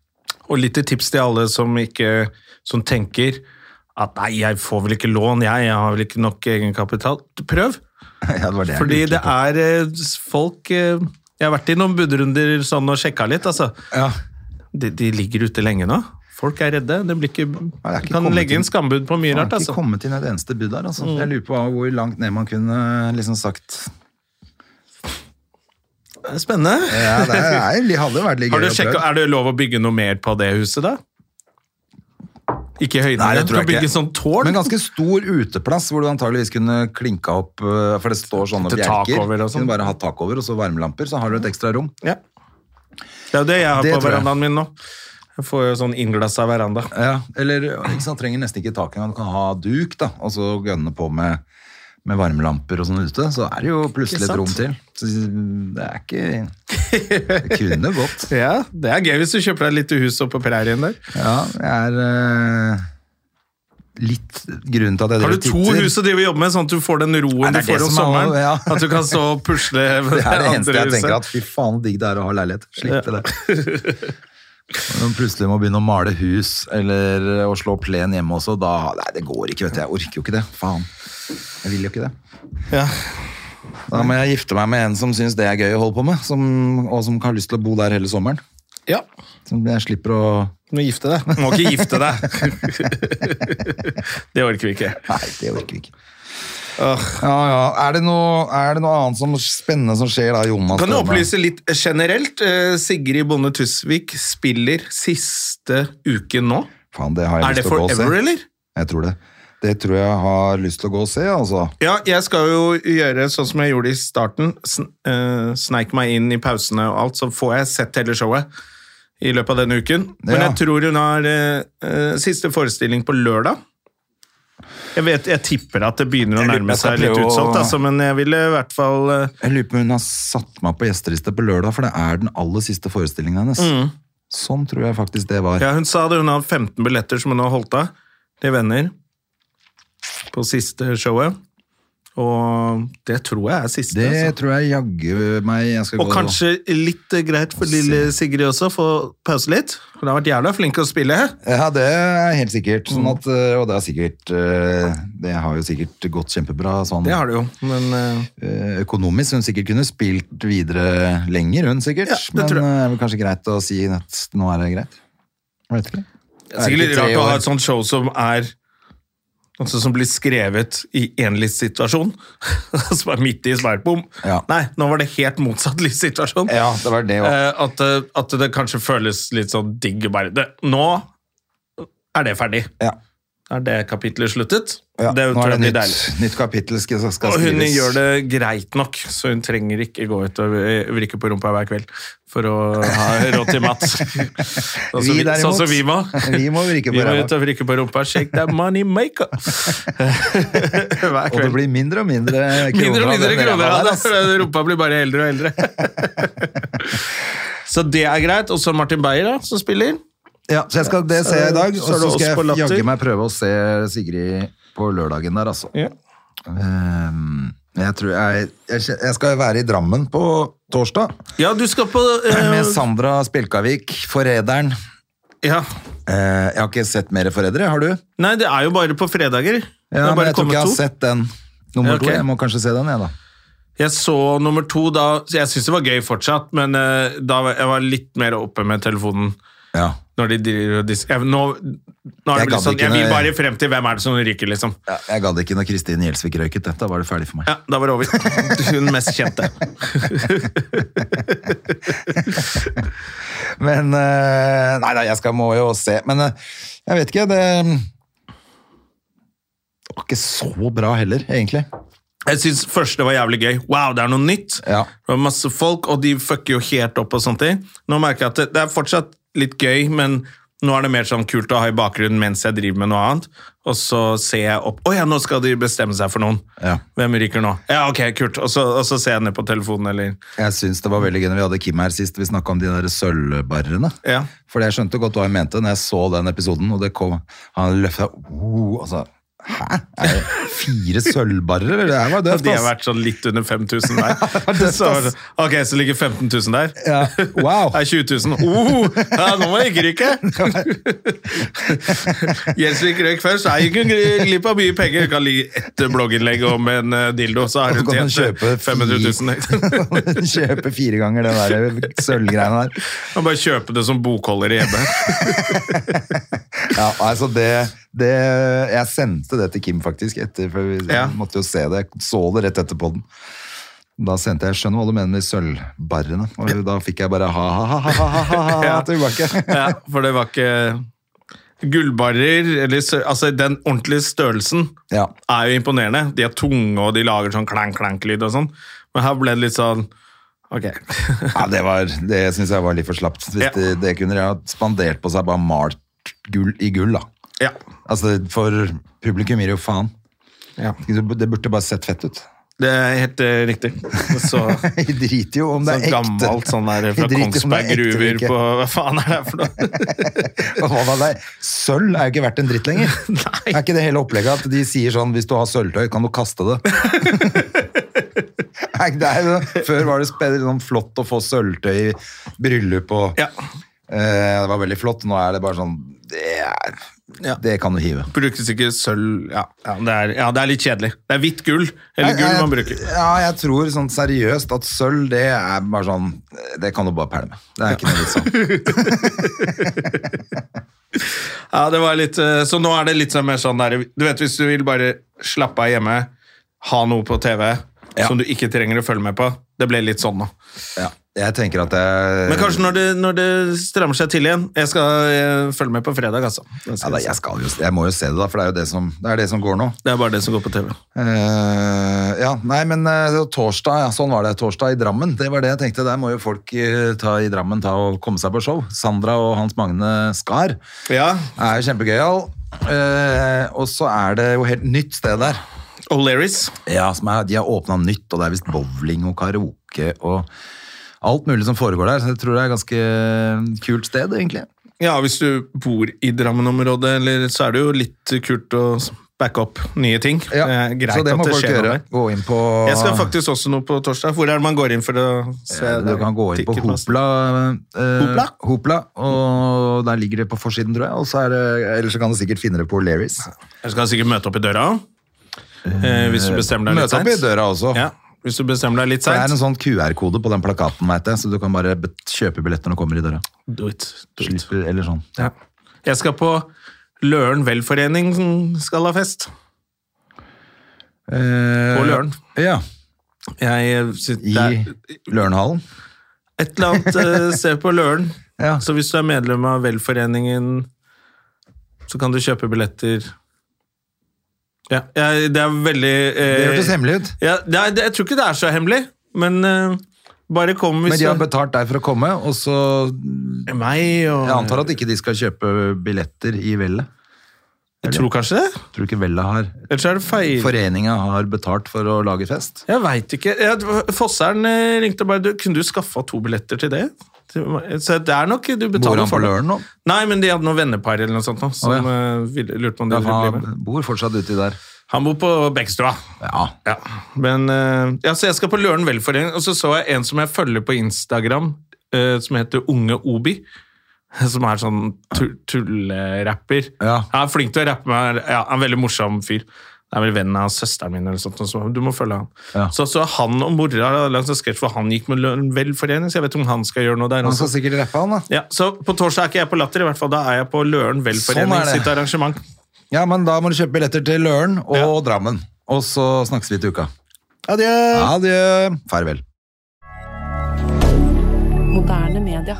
S1: Og lite tips til alle som ikke som tenker at nei, jeg får vel ikke lån, jeg, jeg har vel ikke nok egenkapital. Prøv!
S2: *laughs* Ja, det var det jeg
S1: Fordi
S2: lurte
S1: det
S2: på.
S1: er eh, folk eh, Jeg har vært i noen budrunder sånn og sjekka litt, altså.
S2: Ja.
S1: De, de ligger ute lenge nå. Folk er redde. Det blir ikke,
S2: er ikke
S1: kan
S2: kommet
S1: legge inn
S2: inn.
S1: skambud på mye
S2: Jeg har
S1: rart,
S2: ikke
S1: altså. Mm.
S2: kommet inn et eneste bud der. Altså. Jeg lurer på hvor langt ned man kunne liksom sagt
S1: Det er Spennende.
S2: ja,
S1: *laughs*
S2: det, er, det hadde jo vært litt gøy.
S1: Har du
S2: å prøve.
S1: sjekket, er det lov å bygge noe mer på det huset, da? Ikke i høyden?
S2: Nei, det
S1: igjen.
S2: tror
S1: du
S2: jeg
S1: kan bygge
S2: ikke.
S1: sånn tårn
S2: Men ganske stor uteplass hvor du antageligvis kunne klinka opp øh, For det står sånne
S1: Til tak
S2: bjelker.
S1: over og sånn.
S2: Kunne bare hatt tak over og så varmelamper, så har du et ekstra rom.
S1: Ja. Det er jo det jeg har
S2: Det
S1: på
S2: tror jeg.
S1: verandaen min nå. Jeg får jo sånn innglassa veranda.
S2: Ja, eller ikke sant, trenger nesten ikke tak engang. Du kan ha duk, da, og så gønne på med, med varmelamper og sånn ute. Så er det jo plutselig et
S1: Ikke
S2: rom til. Så det er ikke Det kunne gått.
S1: *laughs* Ja, Det er gøy hvis du kjøper deg et lite hus oppe på prærien der.
S2: Ja, jeg er øh, litt Grunnen til at jeg
S1: Har
S2: driver
S1: du
S2: og
S1: to
S2: titter-
S1: hus å drive og jobbe med, sånn at du får den roen
S2: Nei, det
S1: du
S2: er det
S1: får om
S2: som er-
S1: sommeren?
S2: ja.
S1: At du kan stå og pusle med
S2: *laughs* Det er det eneste jeg tenker at
S1: huset?
S2: fy faen digg det er å ha leilighet. Slippe det. *laughs* Når man plutselig må begynne å male hus eller å slå plen hjemme også, da Nei, det går ikke, vet du. Jeg orker jo ikke det. Faen. Jeg vil jo ikke det.
S1: Ja.
S2: Da må jeg gifte meg med en som syns det er gøy å holde på med, som, og som har lyst til å bo der hele sommeren.
S1: ja.
S2: Så jeg slipper å
S1: Du må gifte deg. Du må ikke gifte *laughs* deg. det orker vi ikke.
S2: Nei, det orker vi ikke. Ja, ja. Er, det noe, er det noe annet som spennende som skjer da, Jonas?
S1: Kan du
S2: Strømme?
S1: opplyse litt generelt? Eh, Sigrid Bonde Tusvik spiller siste uken nå.
S2: Faen, det har jeg
S1: Er det
S2: lyst til å gå og se.
S1: forever, eller?
S2: Jeg tror det. Det tror jeg har lyst til å gå og se, altså.
S1: Ja, jeg skal jo gjøre sånn som jeg gjorde i starten. Sn eh, sneik meg inn i pausene og alt, så får jeg sett hele showet i løpet av denne uken. Men
S2: Ja.
S1: jeg tror hun har eh, eh, siste forestilling på lørdag. Jeg, vet, jeg tipper at det begynner å
S2: Jeg lurer-
S1: nærme
S2: jeg skal
S1: seg litt
S2: prøve å-
S1: utsolgt, altså, men jeg ville i hvert fall eh,
S2: Jeg lurer på om hun har satt meg på gjesteriste på lørdag, for det er den aller siste forestillingen hennes. Sånn tror jeg faktisk det var.
S1: Mm. Ja, hun sa det. Hun har 15 billetter som hun har holdt av til venner på siste showet. Og det tror jeg er siste.
S2: Det
S1: altså.
S2: tror jeg jaggu meg jeg skal
S1: Og
S2: gå
S1: kanskje litt eh, greit for lille Sigrid også, få pause litt. Hun har vært jævla flink til å spille.
S2: Ja, det er helt sikkert. Sånn
S1: Mm.
S2: at, øh, og det er sikkert øh, Det har jo sikkert gått kjempebra sånn
S1: Det har det jo, men eh,
S2: øh, økonomisk. Hun sikkert kunne spilt videre lenger, hun sikkert.
S1: Ja, det
S2: Men
S1: tror jeg.
S2: øh, det er vel kanskje greit å si at nå er det greit. Jeg vet ikke.
S1: det er sikkert
S2: ikke
S1: litt
S2: tre
S1: rart å
S2: år?
S1: ha et sånt show som er Altså som blir skrevet i én livssituasjon, *laughs* som er midt i svarbom.
S2: Ja.
S1: Nei, nå var det helt motsatt livssituasjon.
S2: Ja, det var det òg.
S1: Eh, at, det- at det kanskje føles litt sånn digg bare det, Nå er det ferdig.
S2: Ja.
S1: Er det kapitlet sluttet?
S2: Ja,
S1: det
S2: nå
S1: tror
S2: er
S1: jeg blir
S2: det nytt,
S1: deilig.
S2: nytt kapittel skal, skal
S1: Og hun
S2: skrives.
S1: gjør det greit nok, så hun trenger ikke gå ut og eh, vrikke på rumpa hver kveld for å ha råd til
S2: *laughs*
S1: mat. Sånn som
S2: Vi derimot,
S1: sånn som vi må.
S2: vi må vrikke på
S1: Vi må
S2: ræva.
S1: ut og vrikke på rumpa. Shake that money maker!
S2: *laughs*
S1: hver
S2: Og det
S1: kveld.
S2: blir mindre og
S1: *laughs*
S2: mindre kroner.
S1: Mindre og
S2: av
S1: mindre
S2: den
S1: kroner
S2: ræva
S1: av
S2: der,
S1: det,
S2: ass.
S1: for rumpa blir bare eldre og
S2: *laughs*
S1: eldre. Så det er greit. Og så Martin Beyer, da, som spiller.
S2: Ja, så jeg skal, det
S1: Så er
S2: ser jeg i
S1: det-
S2: dag,
S1: Eh, så
S2: og
S1: er det
S2: så
S1: oss
S2: skal
S1: på
S2: jeg
S1: Latter.
S2: jaggu meg prøve å se Sigrid på lørdagen der, altså. Ehm, jeg tror jeg, jeg, kje- jeg skal være i Drammen på torsdag
S1: Ja, du skal på
S2: *laughs*
S1: eh,
S2: med Sandra Spjelkavik, forræderen.
S1: ja.
S2: Eh, jeg har ikke sett mer forrædere, har du?
S1: Nei, det er jo bare på fredager. Det
S2: Ja,
S1: er
S2: men
S1: bare
S2: jeg tror
S1: kommet
S2: ikke jeg har
S1: to.
S2: sett den. Nummer
S1: Ja, ok.
S2: to. Jeg må kanskje se den, jeg, da.
S1: Jeg så nummer to da så Jeg syns det var gøy fortsatt, men eh, da var, jeg var litt mer oppe med telefonen.
S2: Ja.
S1: Når de driver og dis- jeg, nå, nå har
S2: Jeg
S1: det blitt
S2: gadd
S1: sånn
S2: ikke
S1: Jeg vil
S2: når-
S1: bare frem til hvem er det som ryker, liksom.
S2: Ja, Jeg gadd ikke når Kristin Gjelsvik røyket. Dette var det ferdig for meg.
S1: Ja, da var *laughs* det over. Hun mest kjente.
S2: Men eh, Nei, nei, jeg skal, må jo se. Men eh, jeg vet ikke, det Det var ikke så bra heller, egentlig.
S1: Jeg syns første var jævlig gøy. Wow, det er noe nytt!
S2: Ja.
S1: Det var masse folk, og de fucker jo helt opp og sånt. Nå merker jeg at det, det er fortsatt litt gøy, men nå er det mer sånn kult å ha i bakgrunnen mens jeg driver med noe annet. Og så ser jeg opp Å ja, nå skal de bestemme seg for noen.
S2: Ja.
S1: Hvem ryker nå? Ja, ok, kult. Og så, og så ser jeg ned på telefonen, eller
S2: Jeg syns det var veldig gøy når vi hadde Kim her sist, vi snakka om de der sølvbarrene.
S1: Ja.
S2: For jeg skjønte godt hva hun mente når jeg så den episoden, og det kom Han løfta oh, altså, Hæ? Er det fire sølvbarrer, eller? Det her var døvt,
S1: De har
S2: ass.
S1: vært sånn litt under 5000
S2: *laughs*
S1: der.
S2: døft,
S1: så,
S2: ass.
S1: ok, så ligger 15 000 der.
S2: Ja.
S1: *laughs*
S2: Wow.
S1: Det er 20 000. Oh, ja, nå må jeg
S2: *laughs*
S1: ryke! Gjelsvik røyk først. Er ikke glipp av mye penger. Du kan ligge etter blogginnlegg om en eh, dildo, så har
S2: Så
S1: du
S2: kan man
S1: tjent eh,
S2: kjøpe
S1: 500 *laughs* 000.
S2: *laughs* Kjøpe fire ganger den der sølvgreiene der.
S1: Og bare kjøpe det som bokholder hjemme.
S2: Ja, altså det, det Jeg sendte det til Kim faktisk etter, for vi
S1: Ja.
S2: måtte jo se det. Jeg så det rett etter podden. Da sendte jeg 'skjønner hva du mener med sølvbarrene', og da fikk jeg bare ha-ha-ha
S1: *laughs*
S2: tilbake.
S1: Ja, for det var ikke Gullbarrer, eller sø- altså den ordentlige størrelsen,
S2: Ja.
S1: er jo imponerende. De er tunge, og de lager sånn klank-klank-lyd og sånn. Men her ble det litt sånn Ok. *laughs*
S2: Ja, det var, det syns jeg var litt for slapt. Hvis
S1: Ja.
S2: det, det kunne de ha spandert på seg, bare malt gull i gull, da.
S1: Ja.
S2: Altså, for publikum gir jo faen.
S1: Ja.
S2: Det burde bare sett fett ut. *laughs*
S1: Det er helt eh, riktig. Så,
S2: De driter jo om det
S1: så
S2: er ekte.
S1: gammelt sånn der fra
S2: De driter om det
S1: Kongsberg
S2: er ekte eller
S1: gruver
S2: ikke.
S1: på Hva faen er det her for
S2: *laughs*
S1: noe?
S2: Og hva var det? Sølv er jo ikke verdt en dritt lenger.
S1: *laughs* Nei.
S2: Er ikke det hele opplegget at de sier sånn hvis du har sølvtøy, kan du kaste
S1: *laughs*
S2: det? Er ikke det er jo, før var det spe- sånn flott å få sølvtøy i bryllup og
S1: Ja.
S2: eh, Det var veldig flott. Nå er det bare sånn Det, er,
S1: Ja.
S2: det kan du hive.
S1: Brukes ikke sølv ja, ja, det er, ja, det er litt kjedelig. Det er hvitt gull, eller gull man
S2: Jeg-
S1: bruker.
S2: Ja, jeg tror sånn seriøst at sølv, det er bare sånn Det kan du bare pælme. Det er ikke noe vits sånn.
S1: Ja, det var litt, eh, så nå er det litt sånn mer sånn der Du vet, hvis du vil bare slappe av hjemme, ha noe på TV
S2: Ja.
S1: som du ikke trenger å følge med på. Det ble litt sånn nå.
S2: Ja. Jeg tenker at jeg
S1: Men kanskje når det, når det strammer seg til igjen. Jeg skal eh, følge med på fredag, altså. Det,
S2: ja,
S1: skal
S2: da,
S1: jeg
S2: jeg,
S1: si.
S2: skal jo, jeg må jo se det, da, for det er jo det som, det, er det som går nå.
S1: det er bare det som går på TV.
S2: Eh, ja, nei, men eh, torsdag, ja, sånn var det. Torsdag i Drammen, det var det jeg tenkte. Der må jo folk eh, ta i Drammen ta og komme seg på show. Sandra og Hans Magne Skar
S1: Ja,
S2: er jo kjempegøyal. Eh, og så er det jo helt nytt sted der.
S1: O'Learys.
S2: Ja, som er, De har åpna nytt, og det er visst bowling og karaoke og alt mulig som foregår der. Så jeg tror det er et ganske kult sted, egentlig.
S1: Ja, hvis du bor i Drammen-området, eller- så er det jo litt kult å backe opp nye ting.
S2: Ja,
S1: Eh, greit
S2: så det må
S1: at det
S2: folk
S1: skjer noe
S2: gjøre.
S1: der.
S2: Gå inn på
S1: Jeg skal faktisk også noe på torsdag. Hvor er det man går inn for å se?
S2: Ja, Du
S1: det?
S2: kan gå inn på
S1: Eh, Ticketmaster.
S2: Hopla, eh,
S1: Hopla?
S2: Hopla, og der ligger det på forsiden, tror jeg. Og så er det, ellers så kan du sikkert finne det på O'Learys.
S1: Jeg skal sikkert møte opp i døra. Eh, hvis du bestemmer deg litt
S2: Møte opp i
S1: seint.
S2: døra også.
S1: Ja, hvis du bestemmer deg litt
S2: Det er en
S1: seint.
S2: sånn QR-kode på den plakaten, vet jeg, så du kan bare bet- kjøpe billett når du kommer i døra.
S1: Do it. Do it.
S2: Slipper, eller sånn.
S1: Ja. Jeg skal på Løren velforening som skal ha fest.
S2: Eh,
S1: På Løren.
S2: Ja,
S1: Jeg, sy-
S2: i
S1: det er
S2: Lørenhallen.
S1: et eller annet eh, sted på Løren.
S2: Ja.
S1: Så hvis du er medlem av velforeningen, så kan du kjøpe billetter Ja, jeg, det er veldig eh,
S2: Det hørtes hemmelig ut.
S1: Ja, det er, det, jeg tror ikke det er så hemmelig, men eh, bare kom hvis
S2: Men de har
S1: du
S2: betalt deg for å komme, og så
S1: Meg og
S2: Jeg antar at ikke de skal kjøpe billetter i Vellet.
S1: Jeg tror kanskje det.
S2: Tror du ikke Vellet har
S1: Ellers er det feil.
S2: Foreninga har betalt for å lage fest?
S1: Jeg veit ikke. Ja, det var- Fosseren eh, ringte og bare du, 'Kunne du skaffa to billetter til det?' Til meg? Så det er nok du
S2: Bor
S1: betaler
S2: han på
S1: for det.
S2: Løren nå?
S1: Nei, men de hadde noen vennepar eller noe sånt nå, som
S2: Å,
S1: eh, ville- lurte på om de
S2: Ja,
S1: ville bli med.
S2: han bor fortsatt uti der.
S1: Han bor på Bekkestua.
S2: Ja.
S1: Ja, men eh, ja, så jeg skal på Løren velforening, og så så jeg en som jeg følger på Instagram, eh, som heter Unge Obi, som er sånn tu- tullerapper.
S2: Ja.
S1: Han er flink til å rappe, men han er- ja, han er en veldig morsom fyr. Det er vel vennen av søsteren min, eller sånt, så du må følge han.
S2: Ja.
S1: Så, så han og mora har laget en sånn sketsj hvor han gikk med Løren velforening, så jeg vet ikke om han skal gjøre noe der.
S2: Han
S1: også.
S2: skal sikkert rappe, han da.
S1: Ja, så på torsdag er ikke jeg på Latter, i hvert fall da er jeg på Løren velforening
S2: Sånn er det.
S1: sitt arrangement.
S2: Ja, men da må du kjøpe billetter til Løren og Drammen. Og så snakkes vi til uka.
S1: Adjø!
S2: Adjø. Farvel.
S3: Moderne media.